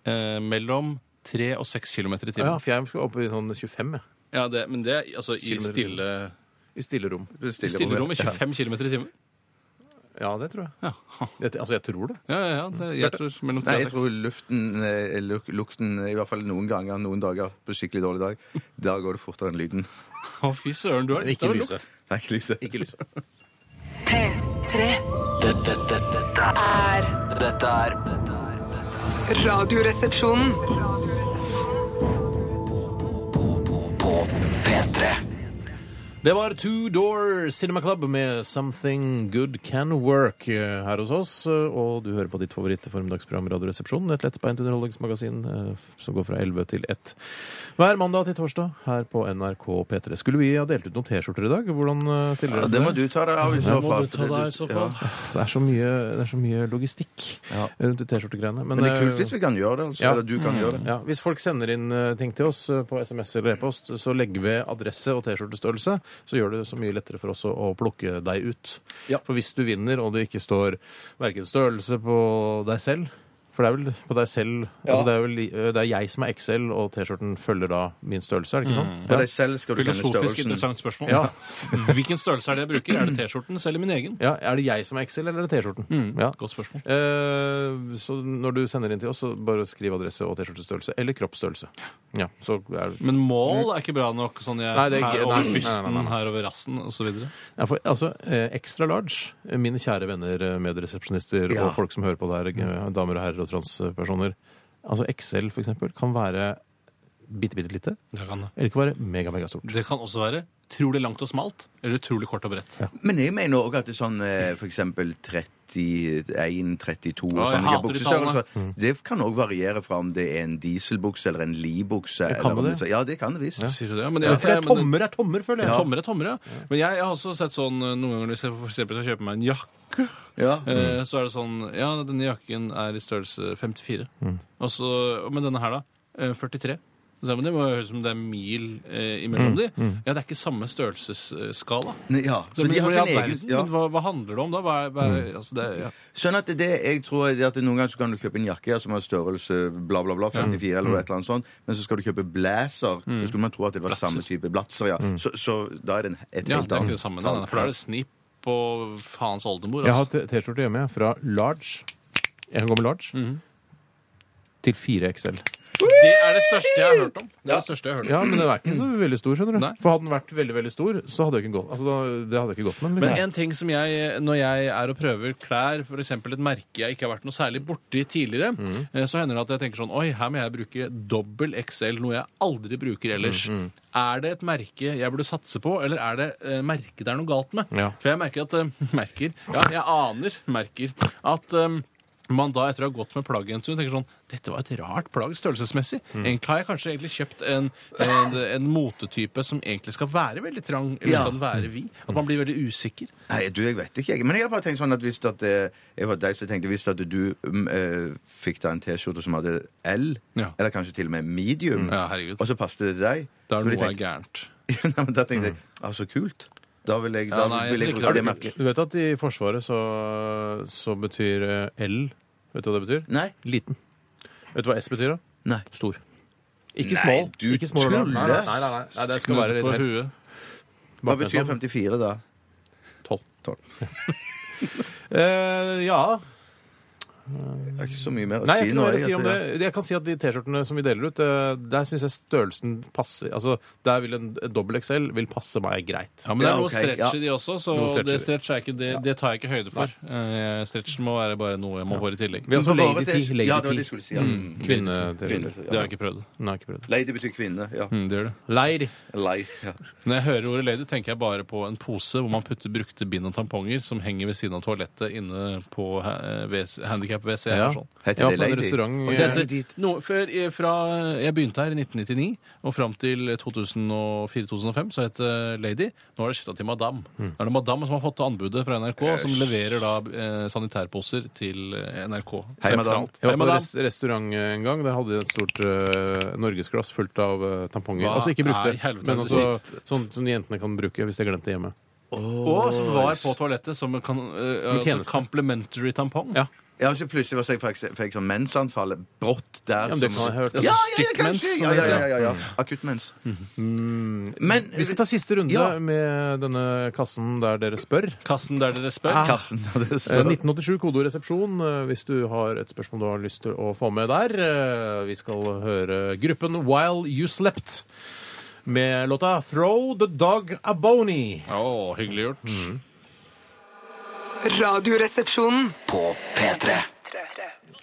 Eh, mellom 3 og 6 km i Ja, timen. for jeg skal opp i sånn 25 jeg. Ja, det, men det er altså i Kilometer i timen. stille, i stillerom. i stille rom. i 25 km i timen. Ja, det tror jeg. Ja, jeg. Altså, jeg tror det. ja, ja. ja det, jeg tror mellom Nei, 3 jeg og 6. tror luften, eh, luk, lukten I hvert fall noen ganger, noen dager på skikkelig dårlig dag. Da går det fortere enn lyden. Å, fy søren, du har Men det ikke var lyse. lukt. Nei, ikke lyset. Ikke lyse. P3. Dette, dette, dette Er er- dette er dette er- dette er Radioresepsjonen. På P3 Det var Two Door Cinema Club med Something Good Can Work eh, her hos oss. eh, Og du hører på ditt favorittformiddagsprogram Radioresepsjonen. Et lettbeint underholdningsmagasin eh, f- som går fra 11 til 1 hver mandag til torsdag her på NRK P3. Skulle vi ha delt ut noen T-skjorter i dag? Hvordan eh, stiller Ja, dere det må dere? du ta deg av i så må fall. du ta for deg det- i så fall. Ja. Det er så mye, det er så mye logistikk Ja. rundt de T-skjortegreiene. Men det er eh, kult hvis vi kan gjøre det. Altså. ja. Eller du Mm. kan gjøre det. ja, Hvis folk sender inn eh, ting til oss eh, på SMS eller e-post, så legg ved adresse og T-skjortestørrelse. Så gjør det så mye lettere for oss å, å plukke deg ut. Ja. For hvis du vinner, og det ikke står verken størrelse på deg selv for det er vel på deg selv altså det, er vel, eh, det er jeg som er XL, og T-skjorten følger da min størrelse, er Mm. det ikke sant? For deg selv skal du kjenne Filosofisk størrelsen. interessant spørsmål. Ja. Hvilken størrelse er det jeg bruker? Er det T-skjortens eller min egen? Ja. ja, Er det jeg som er XL, eller er det T-skjorten? Mm, Ja. Godt spørsmål. Eh, så når du sender inn til oss, så bare skriv adresse og T-skjortestørrelse. Eller kroppsstørrelse. Ja, så er det Men mål er ikke bra nok. Sånn jeg Nei, det er her ikke- over nei, nei, nei, bysten, nei, nei. her over rassen osv. ja, for, Altså, eh, extra large, eh, mine kjære venner, eh, medresepsjonister Ja. og folk som hører på der, eh, damer og herrer og transpersoner. Altså XL, for eksempel, kan være bitte, bitte lite. Det, kan det. Eller det kan være mega, mega stort. det kan også være utrolig langt og smalt, eller utrolig kort og bredt. Men jeg mener òg at det er sånn eh, for eksempel 31, 32 og Ja, jeg sånne hater de buksestørrelser. Det kan òg variere fra om det er en dieselbukse eller en Lie-bukse. Det kan eller om det. det- Ja, det kan det visst. Sier du det? Men Ja, for det er men- tommer er tommer, føler jeg. Tommer er tommer, ja. Men jeg, jeg har også sett sånn eh, noen ganger hvis jeg for eksempel skal kjøpe meg en jakke, Ja. eh, så er det sånn Ja, denne jakken er i størrelse 54. Mm. Og så, men denne her, da? eh, 43. Så, sier jeg, men det må jo høres ut som det er mil eh, imellom de. Ja, det er ikke samme størrelsesskala. Nei, ja. Mm. Så men, de har hvor i all sin egen- verden? ja. Mm. men hva, hva handler det om da? Hva er, hva er, altså det, ja. Sånn at det jeg tror er at Noen ganger så kan du kjøpe en jakke ja, som har størrelse bla, bla, bla, 54 eller et eller annet sånt, men så skal du kjøpe blazer. Mm. Så skulle man tro at det var samme type blazer, ja. Så, så da er det en- et ja, helt det er ikke annet det samme. tall. da, For da er det snipp og faens oldemor. Jeg har Altså. t- T-skjorte hjemme jeg, fra large. Jeg kan gå med large. Mhm. Til 4XL. Det er det største jeg har hørt om. Det er det største jeg har hørt om. Ja, men den er ikke så veldig stor, skjønner du. Nei. For hadde den vært veldig veldig stor, så hadde jeg ikke gått, altså, da, det hadde jeg ikke gått med. Men Liksom. en ting som jeg, når jeg er og prøver klær, f.eks. et merke jeg ikke har vært noe særlig borti tidligere, Mm. eh, så hender det at jeg tenker sånn Oi, her må jeg bruke dobbel XL, noe jeg aldri bruker ellers. Mm, Er det et merke jeg burde satse på, eller er det eh, merket det er noe galt med? Ja. For jeg merker at eh, Merker? Ja, jeg aner, merker, at eh, man da etter å ha gått med plagget en stund tenker sånn Dette var et rart plagg størrelsesmessig. Egentlig har jeg kanskje egentlig kjøpt en, en, en motetype som egentlig skal være veldig trang, eller Ja. skal den være vid? At man blir veldig usikker. Nei, du, jeg vet ikke. jeg. Men jeg har bare tenkt sånn at hvis at, eh, jeg var deg, så tenkte jeg hvis at du mm, eh, fikk deg en T-skjorte som hadde L, Ja. eller kanskje til og med medium, Ja, herregud. og så passet det til deg Da så er ville det noe er jeg gærent. tenkt- Nei, men Da tenkte jeg ah, så kult. Da vil jeg, da Ja, nei, jeg vil jeg synes bruke ikke det det er merket. Du vet at i Forsvaret så, så betyr eh, L Vet du hva det betyr? Nei. Liten. Vet du hva S betyr, da? Nei. Stor. Ikke Nei, small. du ikke small og large. tuller. Nei, nei, nei, nei, nei, det skal være på litt her. huet. Hva betyr 54 da? Tolv. Tolv. Eh, ja Det er ikke så mye mer å Nei, jeg, si kan nå. bare jeg, si om det. altså, ja. jeg kan si at de T-skjortene som vi deler ut, eh, der syns jeg størrelsen passer. Altså, Der vil en dobbel XL vil passe meg greit. Ja, men det er Ja, noe ok, stretch i de også, så Noe stretch i det, de. stretch er ikke, det, det tar jeg ikke høyde for. Eh, Stretchen må være bare noe jeg må få i tillegg. Vi har På også våre leggetid. T-skjorter- Ja, det var det jeg leggetid. skulle si. Ja. Mm. Kvinne-T-skjorter. Kvinne, Det har jeg ikke prøvd. Nei, ikke prøvd. Lady betyr kvinne. Ja. det gjør det. Leir. Lei. Ja. Når Mm. jeg hører ordet lady, tenker jeg bare på en pose hvor man putter brukte bind og tamponger som henger ved siden av toalettet inne på eh, handikap-WC. Ja. Sånn. Jeg Heter var på det en lady? restaurant Det heter- Noe, før, eh, fra jeg begynte her i 1999 og fram til 2004-2005, så het det Lady. Nå har det skifta til Madam. Det er det Madam som har fått anbudet fra NRK, som leverer da eh, sanitærposer til eh, NRK Hei, Madam. sentralt. Jeg Hei, var på Madam. res restaurant en gang. Der hadde de et stort eh, norgesglass fullt av eh, tamponger. Hva altså ikke er i brukte, helvete men er det altså, sånn som jentene kan bruke hvis de har glemt det hjemme. Og som var på toalettet som kan, eh, altså tjeneste. complimentary tampong. Ja. Ja, og så plutselig var så jeg fikk, fikk sånn mensanfall brått der. Ja, men det kan som- jeg ha hørt. Ja, ja, ja, Stykkmens, kanskje. som Ja, det ja, heter. ja, ja, ja. Akutt mens. Men Mm. Vi skal ta siste runde Ja. med denne kassen der dere spør. Kassen der dere spør. Ah. kassen. da, det Eh, spør. 1987 kodeord resepsjon eh, hvis du har et spørsmål du har lyst til å få med der. Eh, Vi skal høre gruppen While You Slept med låta Throw The Dog A Boney. Å, hyggelig gjort. Radioresepsjonen. På P3.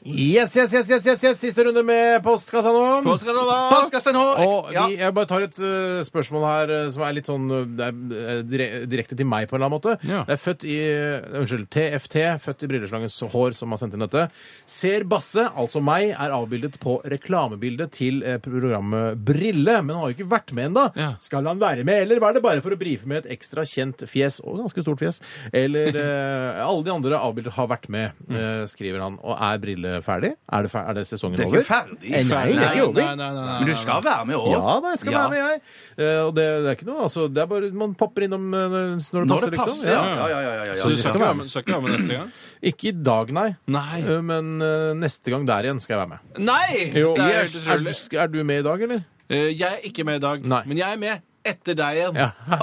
Yes, yes, yes, yes, yes, yes. Siste runde med postkassa nå. Postkassa nå. Postkassa nå! Og Ja. vi, jeg bare tar et eh, spørsmål her eh, som er litt sånn eh, det er, eh, dire- direkte til meg på en eller annen måte. Ja. Det er født i eh, Unnskyld, TFT, født i brilleslangens hår, som har sendt inn dette. Ser Basse, altså meg, er avbildet på reklamebildet til eh, programmet Brille, men har jo ikke vært med ennå. Ja. Skal han være med, eller var det bare for å brife med et ekstra kjent fjes, og ganske stort fjes, eller eh, alle de andre avbildet har vært med, Mm. eh, skriver han. Og er Brille ferdig? Er det, fer er det sesongen Det er over? ikke ferdig. Eh, Nei, det er ikke over. Nei, nei, nei, nei, Men du nei, skal være med òg. Ja da, jeg skal være med, jeg. Eh, og det, det er ikke noe, altså. Det er bare Man popper innom eh, når det Når passer, det passer, liksom. ja. Ja. Ja, ja, ja, ja, ja, Så du ja. skal ikke være med, du skal ikke være med neste gang? Ikke i dag, nei. Nei. Eh, men eh, neste gang der igjen skal jeg være med. Nei! Jo, det er er, helt er, utrolig. du, er du med i dag, eller? Eh, Jeg er ikke med i dag, Nei. men jeg er med etter deg igjen.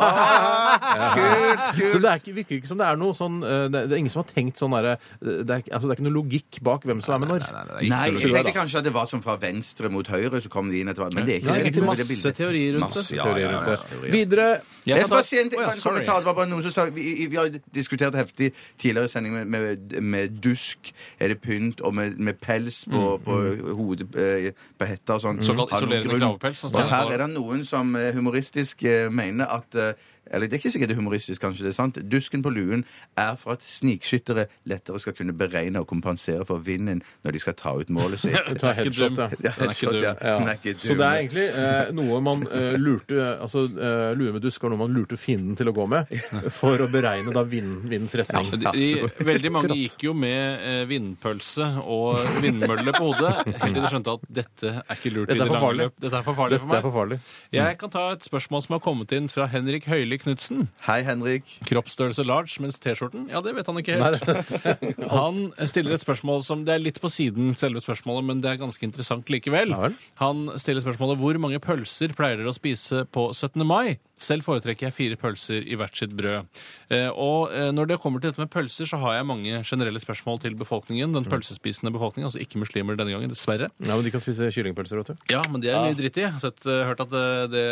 Så det er ikke, virker ikke som det er noe sånn eh, det, det er ingen som har tenkt sånn derre eh, det, er ikke- altså, det er ikke noe logikk bak hvem som er med når. Nei, jeg tror jeg, tenkte kanskje at det var sånn fra venstre mot høyre, så kom de inn etter hvert. Men det er ikke Det er sikkert egentlig med det masse bildet. teorier rundt det. Masse, ja, Teori ja, ja, rundt ja, det. teorier. Videre Jeg kan skal ta- bare si Å, en, ja, en sorry. kommentar. Det var bare noen som sa Vi, vi har diskutert heftig tidligere i sending med, med, med dusk, er det pynt, og med, med pels på, på hodet, eh, på hetta og sånn. Mm, Såkalt Har noen isolerende grunn. kravepels, sånn som Og Steinar her kaller er det noen som eh, humoristisk eh, mener at eh, Eller det er ikke sikkert det er humoristisk, kanskje det er sant. Dusken på luen er for at snikskyttere lettere skal kunne beregne og kompensere for vinden når de skal ta ut målet sitt. Ta headshot, dum. ja. Ja, Den er ikke headshot, dum. ja. Ja. Den er ikke Så dum. det er egentlig eh, noe man eh, lurte Altså eh, lue med dusk var noe man lurte fienden til å gå med for å beregne da vind, vindens retning. De, de, veldig mange gikk jo med eh, vindpølse og vindmølle på hodet, helt til de skjønte at dette er ikke lurt. Dette er i det for lange farlig. løp. Dette er for farlig Dette er for for meg. farlig. Jeg kan ta et spørsmål som har kommet inn fra Henrik Høili Knutsen. Hei, Henrik. Kroppsstørrelse large, mens T-skjorten Ja, det vet han ikke helt. Han stiller et spørsmål som Det er litt på siden, selve spørsmålet, men det er ganske interessant likevel. Ja vel. Han stiller spørsmålet hvor mange pølser pleier dere å spise på 17. mai? Selv foretrekker jeg fire pølser i hvert sitt brød. Eh, og eh, når det kommer til dette med pølser, så har jeg mange generelle spørsmål til befolkningen. Den pølsespisende befolkningen, altså ikke muslimer denne gangen, dessverre. Ja, men De kan spise kyllingpølser, vet du. Ja, men de er mye dritt i. Jeg har sett, eh, hørt at eh, det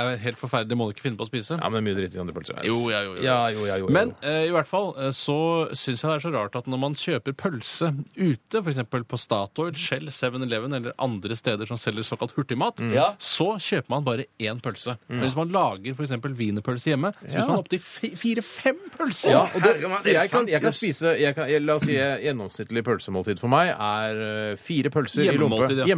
er helt forferdelig, det må du ikke finne på å spise. Ja, men det er mye dritt i andre pølser. Jo, ja, jo, jo. Ja, jo, ja, jo, jo. Men eh, i hvert fall eh, så syns jeg det er så rart at når man kjøper pølse ute, f.eks. på Statoil, Shell, 7-Eleven eller andre steder som selger såkalt hurtigmat, Ja. så kjøper man bare én pølse. Men hvis man lager f.eks. wienerpølse hjemme, så spiser man opptil fi- fire-fem pølser! Ja, og det, Herregud, man, det er jeg, kan, sant, jeg kan jøss. spise jeg kan, jeg, La oss si eh, gjennomsnittlig pølsemåltid for meg er eh, fire pølser i lompe. Hjemmemåltid, ja. Mm.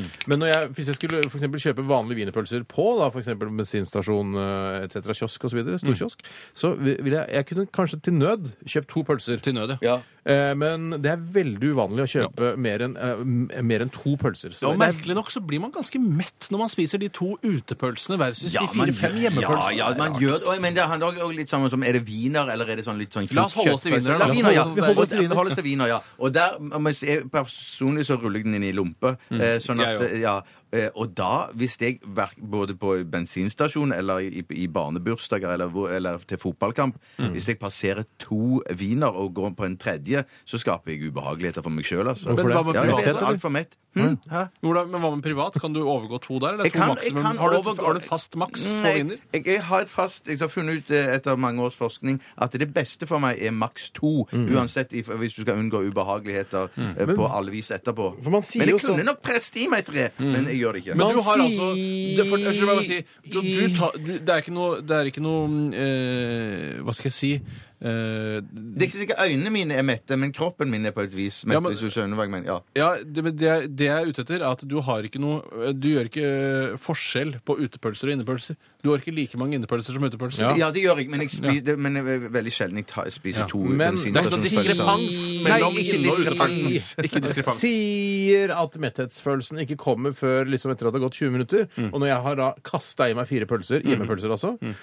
Hjemmemåltid. Men når jeg, hvis jeg skulle for eksempel kjøpe vanlige wienerpølser på da, for eksempel bensinstasjon eh, et cetera, kiosk osv., Mm. storkiosk, så vi- ville jeg, jeg kunne kanskje til nød kjøpt to pølser. Til nød, ja. Ja. Eh, Men det er veldig uvanlig å kjøpe mer, enn, eh, m- mer enn to pølser. Så Og det er- merkelig nok så blir man ganske mett når man spiser de to utepølsene versus de fire-fem ja, hjemmepølsene. ja, man gjør det. Og, Men det handler også litt sammen som Er det wiener, eller er det sånn litt sånn La oss holde oss til wiener, kjøttpølse? da. La oss holde- Ja, ja, vi holder oss til wiener. Vi holder oss til wiener, ja. Og der, mens jeg personlig så ruller jeg den inn i lompe. Mm. eh, Sånn Jeg at, ja eh, og da, hvis jeg verk- både på bensinstasjon eller i, i barnebursdager eller, hvor- eller til fotballkamp Mm. Hvis jeg passerer to wiener og går på en tredje, så skaper jeg ubehageligheter for meg sjøl. Altså. Men hva med Ja, jeg blir privathet, alt for mett. Hm? Hæ? Hvordan- Men hva med privat? Kan du overgå to der? Eller er det Jeg to kan- jeg maksimum? kan har, du, overgå- har du fast maks på Nei, wiener? Jeg, jeg har et fast Jeg har funnet ut eh, etter mange års forskning at det beste for meg er maks to. Mhm. Uansett if, hvis du skal unngå ubehageligheter eh, på alle vis etterpå. For man sier men jo jeg kunne sånn- nok presse i meg tre, men jeg gjør det ikke. Men du Man har altså sier- det, for, unnskyld, meg, bare si, du, du tar, du, det er ikke noe, det er ikke noe eh, Hva skal jeg si eh, det er ikke sikkert øynene mine er mette, men kroppen min er på et vis mett. Ja, men- hvis du skjønner hva jeg mener. Ja. ja, det, men det, jeg- det jeg er ute etter, er at du har ikke noe Du gjør ikke eh, forskjell på utepølser og innepølser. Du har ikke like mange innepølser som utepølser. Ja. det gjør jeg, men jeg spiser, men jeg, er veldig sjelden jeg tar, spiser Ja. to Men Det er ikke sånn bensinstasjonspølser. diskrepans mellom Nei, ikke inne- og diskrepansen. utepansen. Ikke diskrepans. sier at metthetsfølelsen ikke kommer før liksom etter at det har gått 20 minutter. Mm. Og når jeg har da kasta i meg fire pølser, hjemmepølser altså, eh,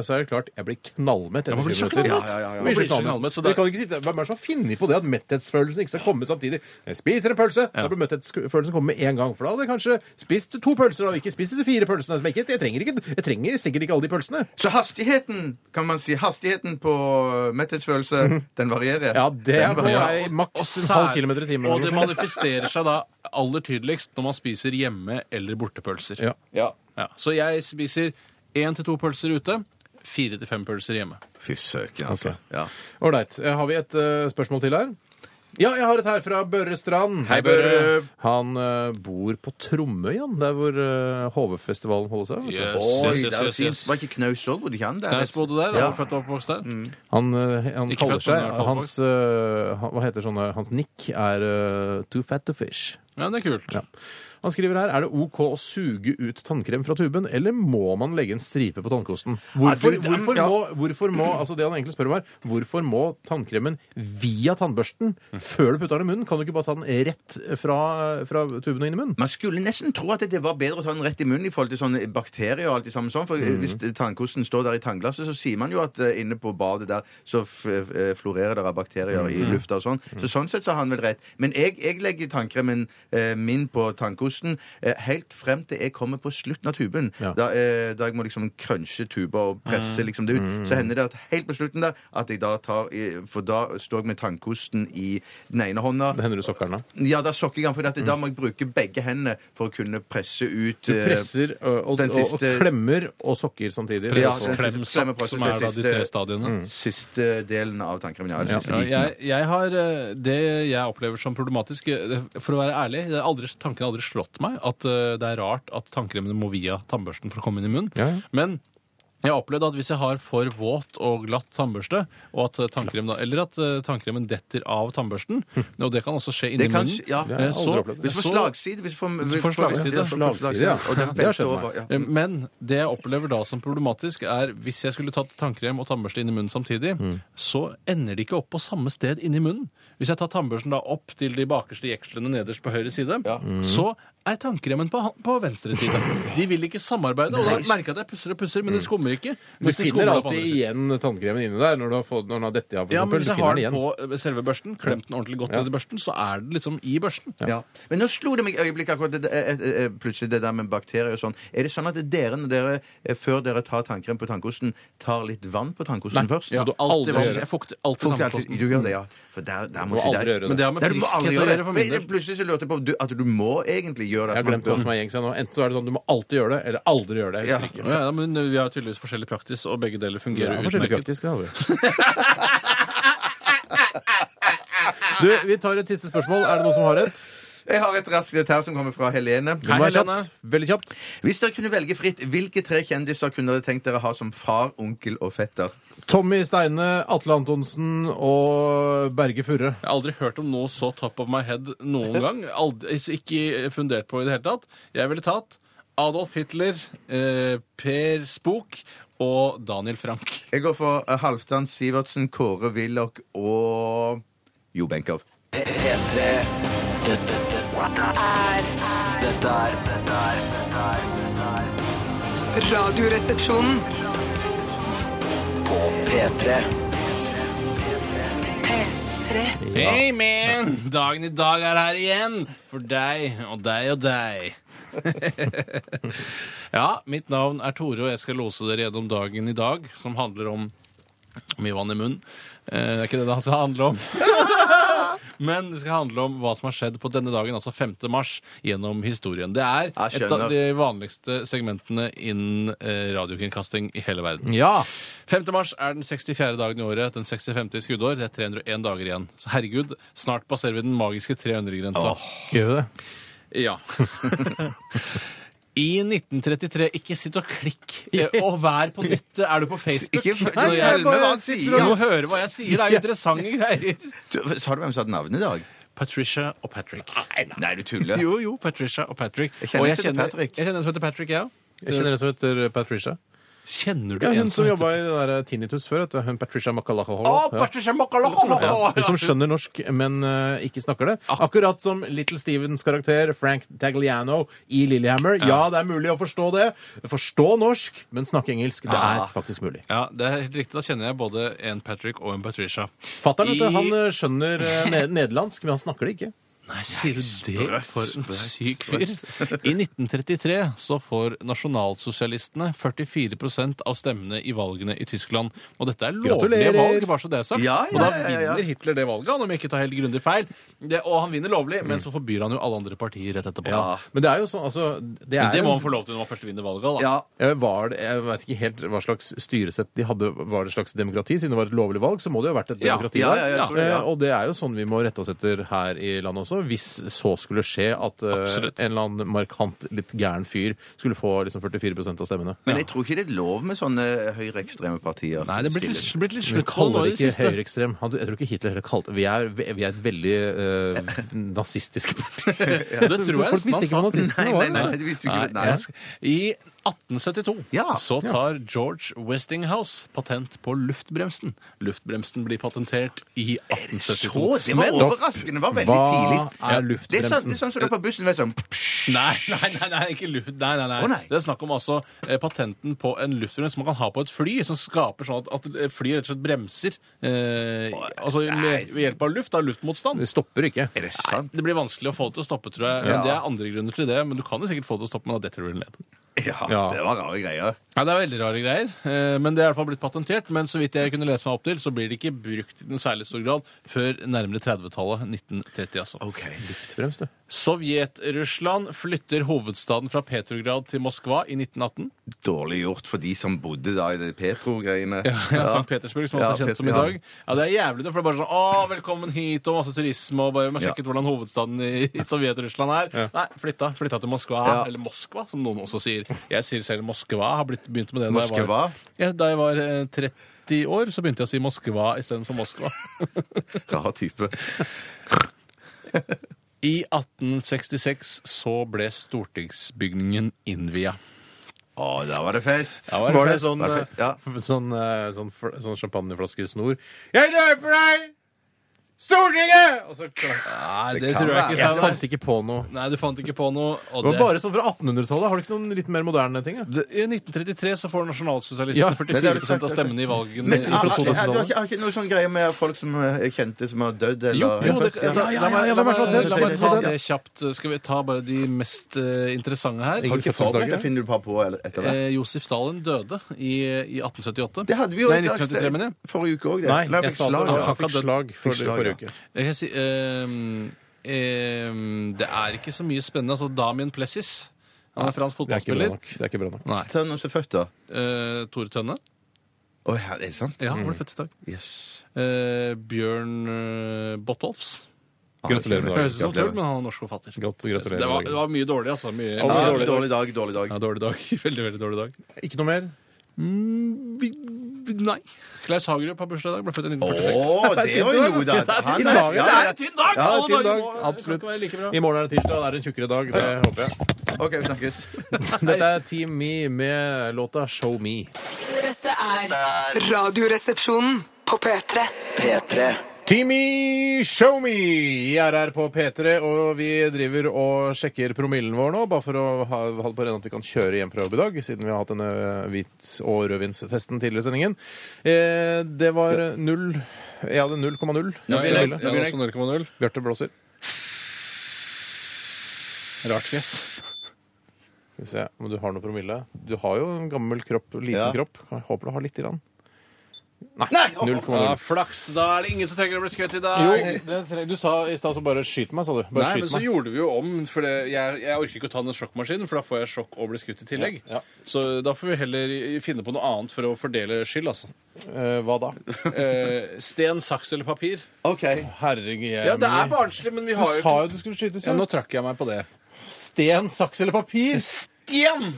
så er det klart jeg blir knallmett man etter blir 20 så minutter. knallmett. Ja, ja, ja, ja. Man blir så Man blir så knallmett, knallmett, så så det- det kan ikke sitte, Hvem er det som har funnet på det at metthetsfølelsen ikke skal komme samtidig? Jeg spiser en pølse, da bør metthetsfølelsen komme med en gang. For da hadde jeg kanskje spist to pølser og ikke spist disse fire pølsene. Som jeg, ikke, jeg, trenger ikke, jeg trenger sikkert ikke alle de pølsene. Så hastigheten, kan man si, hastigheten på metthetsfølelse, den varierer. Mhm. Ja, det Den er på varierer. vei maks Og en halv sær- kilometer i timen. Og det manifesterer seg da aller tydeligst når man spiser hjemme- eller bortepølser. Ja. Ja. Ja, så jeg spiser én til to pølser ute, fire til fem pølser hjemme. Fy søken, altså. Ok. Ja. Ålreit. Eh, Har vi et eh, spørsmål til her? Ja, jeg har et her fra Børre Strand. Hei, Børre. Han eh, bor på Tromøyan, der hvor eh, HV-festivalen holder seg. vet du. Oi, det er jo fint. Var ikke Knaus òg? Bodde ikke han der? Knaus bodde der, Ja. og født og oppvokst der. Han, eh, han Ikke kaller født, men i seg hvert fall hans, eh, han- Hva heter sånne Hans nick er eh, Too fat to fish. Ja, det er kult. Ja. Han skriver her er det OK å suge ut tannkrem fra tuben, eller må man legge en stripe på tannkosten? Hvorfor, Ja, du, den- hvorfor, ja. må, hvorfor må altså det han egentlig spør om er, hvorfor må tannkremen via tannbørsten før du putter den i munnen? Kan du ikke bare ta den rett fra, fra tuben og inn i munnen? Man skulle nesten tro at det var bedre å ta den rett i munnen i forhold til sånne bakterier og alt det samme sånn, for Mm. hvis tannkosten står der i tannglasset, så sier man jo at eh, inne på badet der så f eh, florerer det av bakterier i Mm. lufta og sånn. Så sånn sett så har han vel rett. Men jeg, jeg legger tannkremen eh, min på tannkosten eh, helt frem til jeg kommer på slutten av tuben. Ja. Mm. Da, eh, da jeg må liksom crunche tuba og presse liksom det ut. Så hender det at helt på slutten der at jeg da tar i- For da står jeg med tannkosten i den ene hånda. Det hender du sokker den av. Ja, da sokker jeg han, for at da må jeg bruke begge hendene for å kunne presse ut Mm. eh, Du presser ø, og, den og, og siste- klemmer og sokker samtidig. altså, Ja, Press, den siste- klem, sokk, klemmeprosess, som er da de siste- Mm. tre stadiene. siste delen av tannkremen. Ja, eller siste Ja, liten, jeg, jeg har eh, Det jeg opplever som problematisk eh, For å være ærlig, det er aldri, tanken har aldri slått meg at eh, det er rart at tannkremene må via tannbørsten for å komme inn i munnen. Ja, ja. Men Jeg har opplevd at hvis jeg har for våt og glatt tannbørste, og at eh, tannkrem da, eller at eh, tannkremen detter av tannbørsten, og det kan også skje inni Hm. Det kan munnen skje, ja. eh, Det har jeg så- aldri opplevd. Hvis du så- får slagside hvis du får, du får slagside, ja, så får du slagside, ja. Og den Det har skjedd velter meg. over. Ja. Eh, Men det jeg opplever da som problematisk, er hvis jeg skulle tatt tannkrem og tannbørste inn i munnen samtidig, så ender de ikke opp på samme sted inni munnen. Hvis jeg tar tannbørsten da opp til de bakerste jekslene nederst på høyre side, så er tannkremen på, han- på venstre side. De vil ikke samarbeide, og da merker jeg at jeg pusser og pusser, men det skummer ikke. Du Mens det skummer finner da på alltid andre siden. igjen tannkremen inni der når du har fått når den har dette av. for Ja, eksempel, men hvis du jeg finner har den den igjen. på eh, selve børsten, klemt den ordentlig godt ned i børsten, så er det liksom i børsten. Ja. Men nå slo det meg i øyeblikket akkurat det, eh, eh, eh, plutselig det der med bakterier og sånn. Er det sånn at dere, når dere eh, før dere tar tannkrem på tannkosten, tar litt vann på tannkosten først? Ja, Ja. du aldri Alltid- gjøre. Jeg fukter alltid Fukter alltid- tannkosten. Du gjør det, ja. For der, der må Du må ikke- aldri der- gjøre Mm. Men det har med Nei, du må aldri friskhet å gjøre gjøre for Men min del. Plutselig så lurte jeg på om du, at du må egentlig gjøre Jeg det. har glemt hva som er gjeng seg nå. Enten så er det sånn du må alltid gjøre det, eller aldri gjøre det. Jeg husker Ja. ikke. Ja, ja, men vi har tydeligvis forskjellig praksis, og begge deler Det fungerer er forskjellig utmerket. praktisk, det har vi. Du, vi tar et siste spørsmål. Er det noen som har et? Jeg har et raskt dette her som kommer fra Helene. Det må være Helene. kjapt. Veldig kjapt. Hvis dere kunne velge fritt, hvilke tre kjendiser kunne dere tenkt dere ha som far, onkel og fetter? Tommy Steine, Atle Antonsen og Berge Furre. Jeg har aldri hørt om noe så top of my head noen gang. Aldri, ikke fundert på i det hele tatt. Jeg ville tatt Adolf Hitler, eh, Per Spook og Daniel Frank. Jeg går for eh, Halvdan Sivertsen, Kåre Willoch og Jo Benkow. P- P3 Dette dette er Dette er dette er- dette er Radioresepsjonen. På P3 P3. Hey man! Dagen i dag er her igjen! For deg og deg og deg. ja, mitt navn er Tore, og jeg skal lose dere gjennom dagen i dag, som handler om mye vann i munnen. Eh, Det er ikke det det skal handle om. Men det skal handle om hva som har skjedd på denne dagen, altså 5. mars, gjennom historien. Det er Jeg et av skjønner. de vanligste segmentene innen eh, radiokringkasting i hele verden. Ja. 5. mars er den 64. dagen i året, den 65. i skuddår. Det er 301 dager igjen. Så herregud, snart passerer vi den magiske 300-grensa. Gjør vi det? Ja. I 1933 Ikke sitt og klikk eh, og vær på nettet. Er du på Facebook? Ikke- Når Nei, jeg- jeg bare Hva sier- sier du? Du må høre hva jeg sier. Det er jo interessante greier. Du, sa du hvem som hadde navnet i dag? Patricia og Patrick. Nei, du tuller. Jo, jo, Patricia og Patrick. Jeg kjenner og ikke til Patrick. Jeg kjenner en som heter Patrick, jeg Jeg kjenner en som heter Patricia. Kjenner du Ja, hun en som heter- jobba i det der Tinnitus før. Vet du. Hun Patricia Macalahoho. Å, Ja. Patricia Macalacolo! Ja, hun som skjønner norsk, men eh, ikke snakker det. Ah. Akkurat som Little Stevens karakter Frank Tagliano i Lillehammer. Ja, det er mulig å forstå det. Forstå norsk, men snakke engelsk. Det er Ah. faktisk mulig. Ja, det er helt riktig. Da kjenner jeg både en Patrick og en Patricia. Fatter'n I- han eh, skjønner eh, ne nederlandsk, men han snakker det ikke. Nei, sier du det? For en syk fyr. I 1933 så får nasjonalsosialistene 44 av stemmene i valgene i Tyskland. Og dette er lovlige Gratulerer. valg, bare så det er sagt. Ja, ja, og da ja, vinner ja, ja. Hitler det valget, han, om jeg ikke tar helt grundig feil. Det, og han vinner lovlig, men så forbyr han jo alle andre partier rett etterpå. Men det er jo sånn, altså det er Men det må en- han få lov til når han først vinner valget. da. Ja. Eh, Var det, jeg vet ikke helt hva slags styresett de hadde. Var det et slags demokrati? Siden det var et lovlig valg, så må det jo ha vært et Ja, demokrati ja, der. ja, jeg tror det, ja. Eh, Og det er jo sånn vi må rette oss etter her i landet også. Hvis så skulle skje at eh, Absolutt. en eller annen markant, litt gæren fyr skulle få liksom 44 av stemmene. Men jeg tror ikke det er lov med sånne høyreekstreme partier. Nei, det er blitt litt, blitt litt Vi slutthold nå kaller i det det ikke siste. høyreekstrem. Han- Jeg tror ikke Hitler heller kalte Vi er, vi er et veldig eh, nazistisk parti. Det tror jeg Folk nesten han visste ikke hva sa. nazistene Nei, var. nei, nei, det visste vi ikke. Nei, Nei. jeg sk- I 1872 Ja. så tar George Westinghouse patent på luftbremsen. Luftbremsen blir patentert i 1872. Det var Men- overraskende. Det var veldig Hva tidlig. er Det er sånn, det luftbremsen? er sånn som du er på bussen. Det er sånn, Nei, nei, nei, nei, ikke luft. Nei, nei, nei. Å, nei. Det er snakk om altså eh, patenten på en luftbrems man kan ha på et fly, som skaper sånn at, at flyet rett og slett bremser eh, altså med, ved hjelp av luft, av luftmotstand. Det stopper ikke. er det sant? Det blir vanskelig å få det til å stoppe, tror jeg. Ja. Det er andre grunner til det, men du kan jo sikkert få det til å stoppe, men da detter du ned. Ja, Ja. det var rare greier. Ja, Det er veldig rare greier, eh, men det er i hvert fall blitt patentert. Men så vidt jeg kunne lese meg opp til, så blir det ikke brukt i den særlig stor grad før nærmere 30-tallet. 1930, altså. Luftbrems, du. Sovjet-Russland flytter hovedstaden fra Petrograd til Moskva i 1918. Dårlig gjort for de som bodde da i det Petro-greiene. Ja. sånn. St. Petersburg, som også Ja, er kjent som i Peter- dag. Ja, Det er jævlig, det, for det er bare sånn Å, velkommen hit, og masse turisme, og bare man sjekket hvordan hovedstaden i i Sovjet-Russland er. Nei, flytta. Flytta til Moskva. Ja. Eller Moskva, som noen også sier. Jeg sier selv Moskva har blitt begynte med det da jeg Moskva? var, ja, da jeg var eh, 30 år, så begynte jeg å si Moskva istedenfor Moskva. Rar type. I 1866 så ble stortingsbygningen innvia. Å, da var det fest! Da Var det fest. sånn, Var det- ja. eh, sånn, eh, sånn, fl- sånn champagneflaskesnor Jeg løper deg! Stortinget! Og så klass. Nei, det, Det kan tror jeg være. Jeg ikke. Steinar. fant ikke på noe. Nei, du fant ikke på noe. og Det var det- bare sånn fra 1800-tallet. Har du ikke noen litt mer moderne ting? da? Det- I 1933 så får nasjonalsosialistene Ja, det har du 44 av sagt, det har du stemmene i valgen. Men, i- har, fra har, har, 2000-tallet. har, ikke- har ikke noe sånn greie med folk som eh, jeg kjente som har dødd? Jo, eller- jo, det, Ja. la, ja, ja, la, meg- la, hvem er meg- som er død? Hvem la er meg som er ta død? det kjapt. Skal vi ta bare de mest eh, interessante her? Har du ikke forberedt deg? Finner du bare på eller- etter hvert? Eh, Josef Stalin døde i, i 1878. Det hadde vi jo Nei, et slags- 1933, mener jeg. Forrige uke òg, det. Nei, fikk jeg sa slag, det. ja. Han fikk slag for, Fikk slag, forrige ja. uke. Jeg kan si ehm, ehm, Det er ikke så mye spennende. Altså Damien Plessis. Han er fransk Det er ikke bra fotballspiller. nok. Det er ikke bra nok. Nei. Ta noen som er født, da. Eh, Tore Tønne. Å, ja, er det sant? Ja, han ble født i dag. Yes. Eh, Bjørn eh, Bottolfs. Gratulerer med Høres ut som dagen. tull, men han er norsk forfatter. Godt, Det gratulerer var, med dagen. det var mye dårlig, altså. Mye, Ja, Ja, dårlig dag. dårlig dag, dårlig dag. Ja, dårlig dag. Veldig, veldig dårlig dag. Ikke noe mer? Nei. Klaus Hagerup har bursdag i dag. Ble født i Å, 1946. det var jo da! Han- I dag, ja, det er ja. en tynn dag! Ja, Alle tynn dager dag. må- det Absolutt. kan ikke være like bra. I morgen er det tirsdag, og det er en tjukkere dag. Det håper jeg. OK, vi snakkes. Dette er Team Me med låta Show Me. Dette er Radioresepsjonen på P3. P3. Team Me Show Me i RR på P3, og vi driver og sjekker promillen vår nå, bare for å ha, holde på rene at vi kan kjøre hjem fra jobb i dag, siden vi har hatt denne hvit- og rødvinstesten tidligere i sendingen. Eh, det var null Jeg hadde 0,0. Ja, i jeg, jeg, promille. jeg, jeg, også 0,0. Bjarte blåser. Rart fjes. Skal vi se om du har noe promille. Du har jo en gammel kropp, liten Ja. kropp. Jeg håper du har lite grann. Nei! 0,0. flaks. Da er det ingen som trenger å bli skutt i dag. Jo, Ah, det tre- du sa i stad så bare skyt meg, sa du. Bare Nei, men skyt så meg. gjorde vi jo om, for det, jeg, jeg orker ikke å ta den sjokkmaskinen, for da får jeg sjokk og blir skutt i tillegg. Ja, ja. Så da får vi heller finne på noe annet for å fordele skyld, altså. Eh, hva da? Eh, sten, saks eller papir? OK. Herregud. Ja, det er barnslig, men vi Du har jo sa jo du skulle skytes. ja, Ja, Nå trakk jeg meg på det. Sten, saks eller papir? Sten!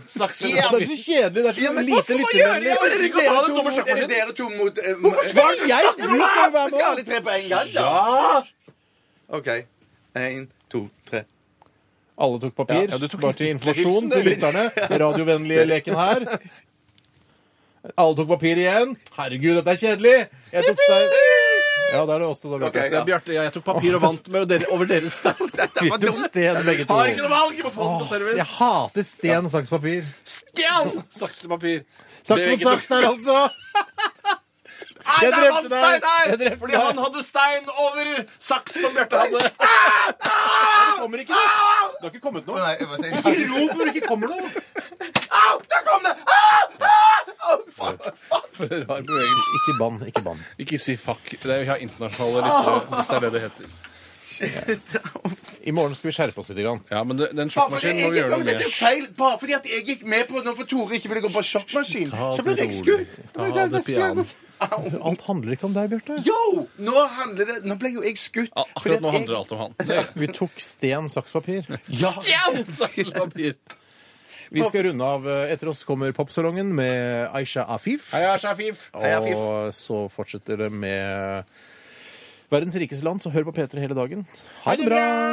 Saks Ja, det er så kjedelig. Det er så lite lyttervennlig. Jeg orker ikke å ta den dumme Er det sjokkmaskinen. dere to mot eh, mot- Hva er jeg? Du skal jo være Vi skal med. alle tre på en gang, da. OK. Én, to, tre. Alle tok papir. Ja, du tok bare til informasjon Riksen, til det lytterne. Radiovennlige leken her. Alle tok papir igjen. Herregud, dette er kjedelig. Jeg tok stein. Ja, da er det oss to, da, Bjarte. Ok, ja. Ja, Bjarte, jeg tok papir og vant med dere, over deres stein. Dette Vi var tok dumt. sten, begge to. Har ikke noe valg! Jeg Må få den på Åh, Jeg service. hater sten, saks, papir. Sten! Saks eller papir? Saks Det er mot ikke saks der, altså! Nei, Jeg det er drepte vant deg. Jeg Stein her! drepte Fordi deg. Ah, han hadde stein over saks som Bjarte hadde. Det kommer ikke noe. Det har ikke kommet noe. Nei, hva sier Ikke jeg? rop når det ikke kommer noe. Au, der kom det! Ah, ah, oh, fuck, fuck. Rar bevegelse. Ikke bann. Ikke bann. Ikke si fuck. Det er jo vi har internasjonale Ah! lyttere, hvis det er det det heter. I morgen skal vi skjerpe oss litt. Grann. Ja, men det, Ah, den Bare fordi, sjokkmaskinen jeg må vi gikk, gjøre men noe dette med. er feil. Bare fordi at jeg gikk med på det nå for Tore ikke ville gå på sjokkmaskin, så ble jeg skutt. Ta det piano. Alt handler ikke om deg, Bjarte. Yo! Nå handler det Nå ble jo jeg skutt. Ja, Akkurat nå handler alt om han. Det Vi tok sten, saks, papir. Stjern! Saks, papir. Vi skal runde av. eh, Etter oss kommer Popsalongen med Aisha Afif. Hei, Shafif. Hei, Afif. Og så fortsetter det med Verdens rikeste land, så hør på P3 hele dagen. Ha det bra!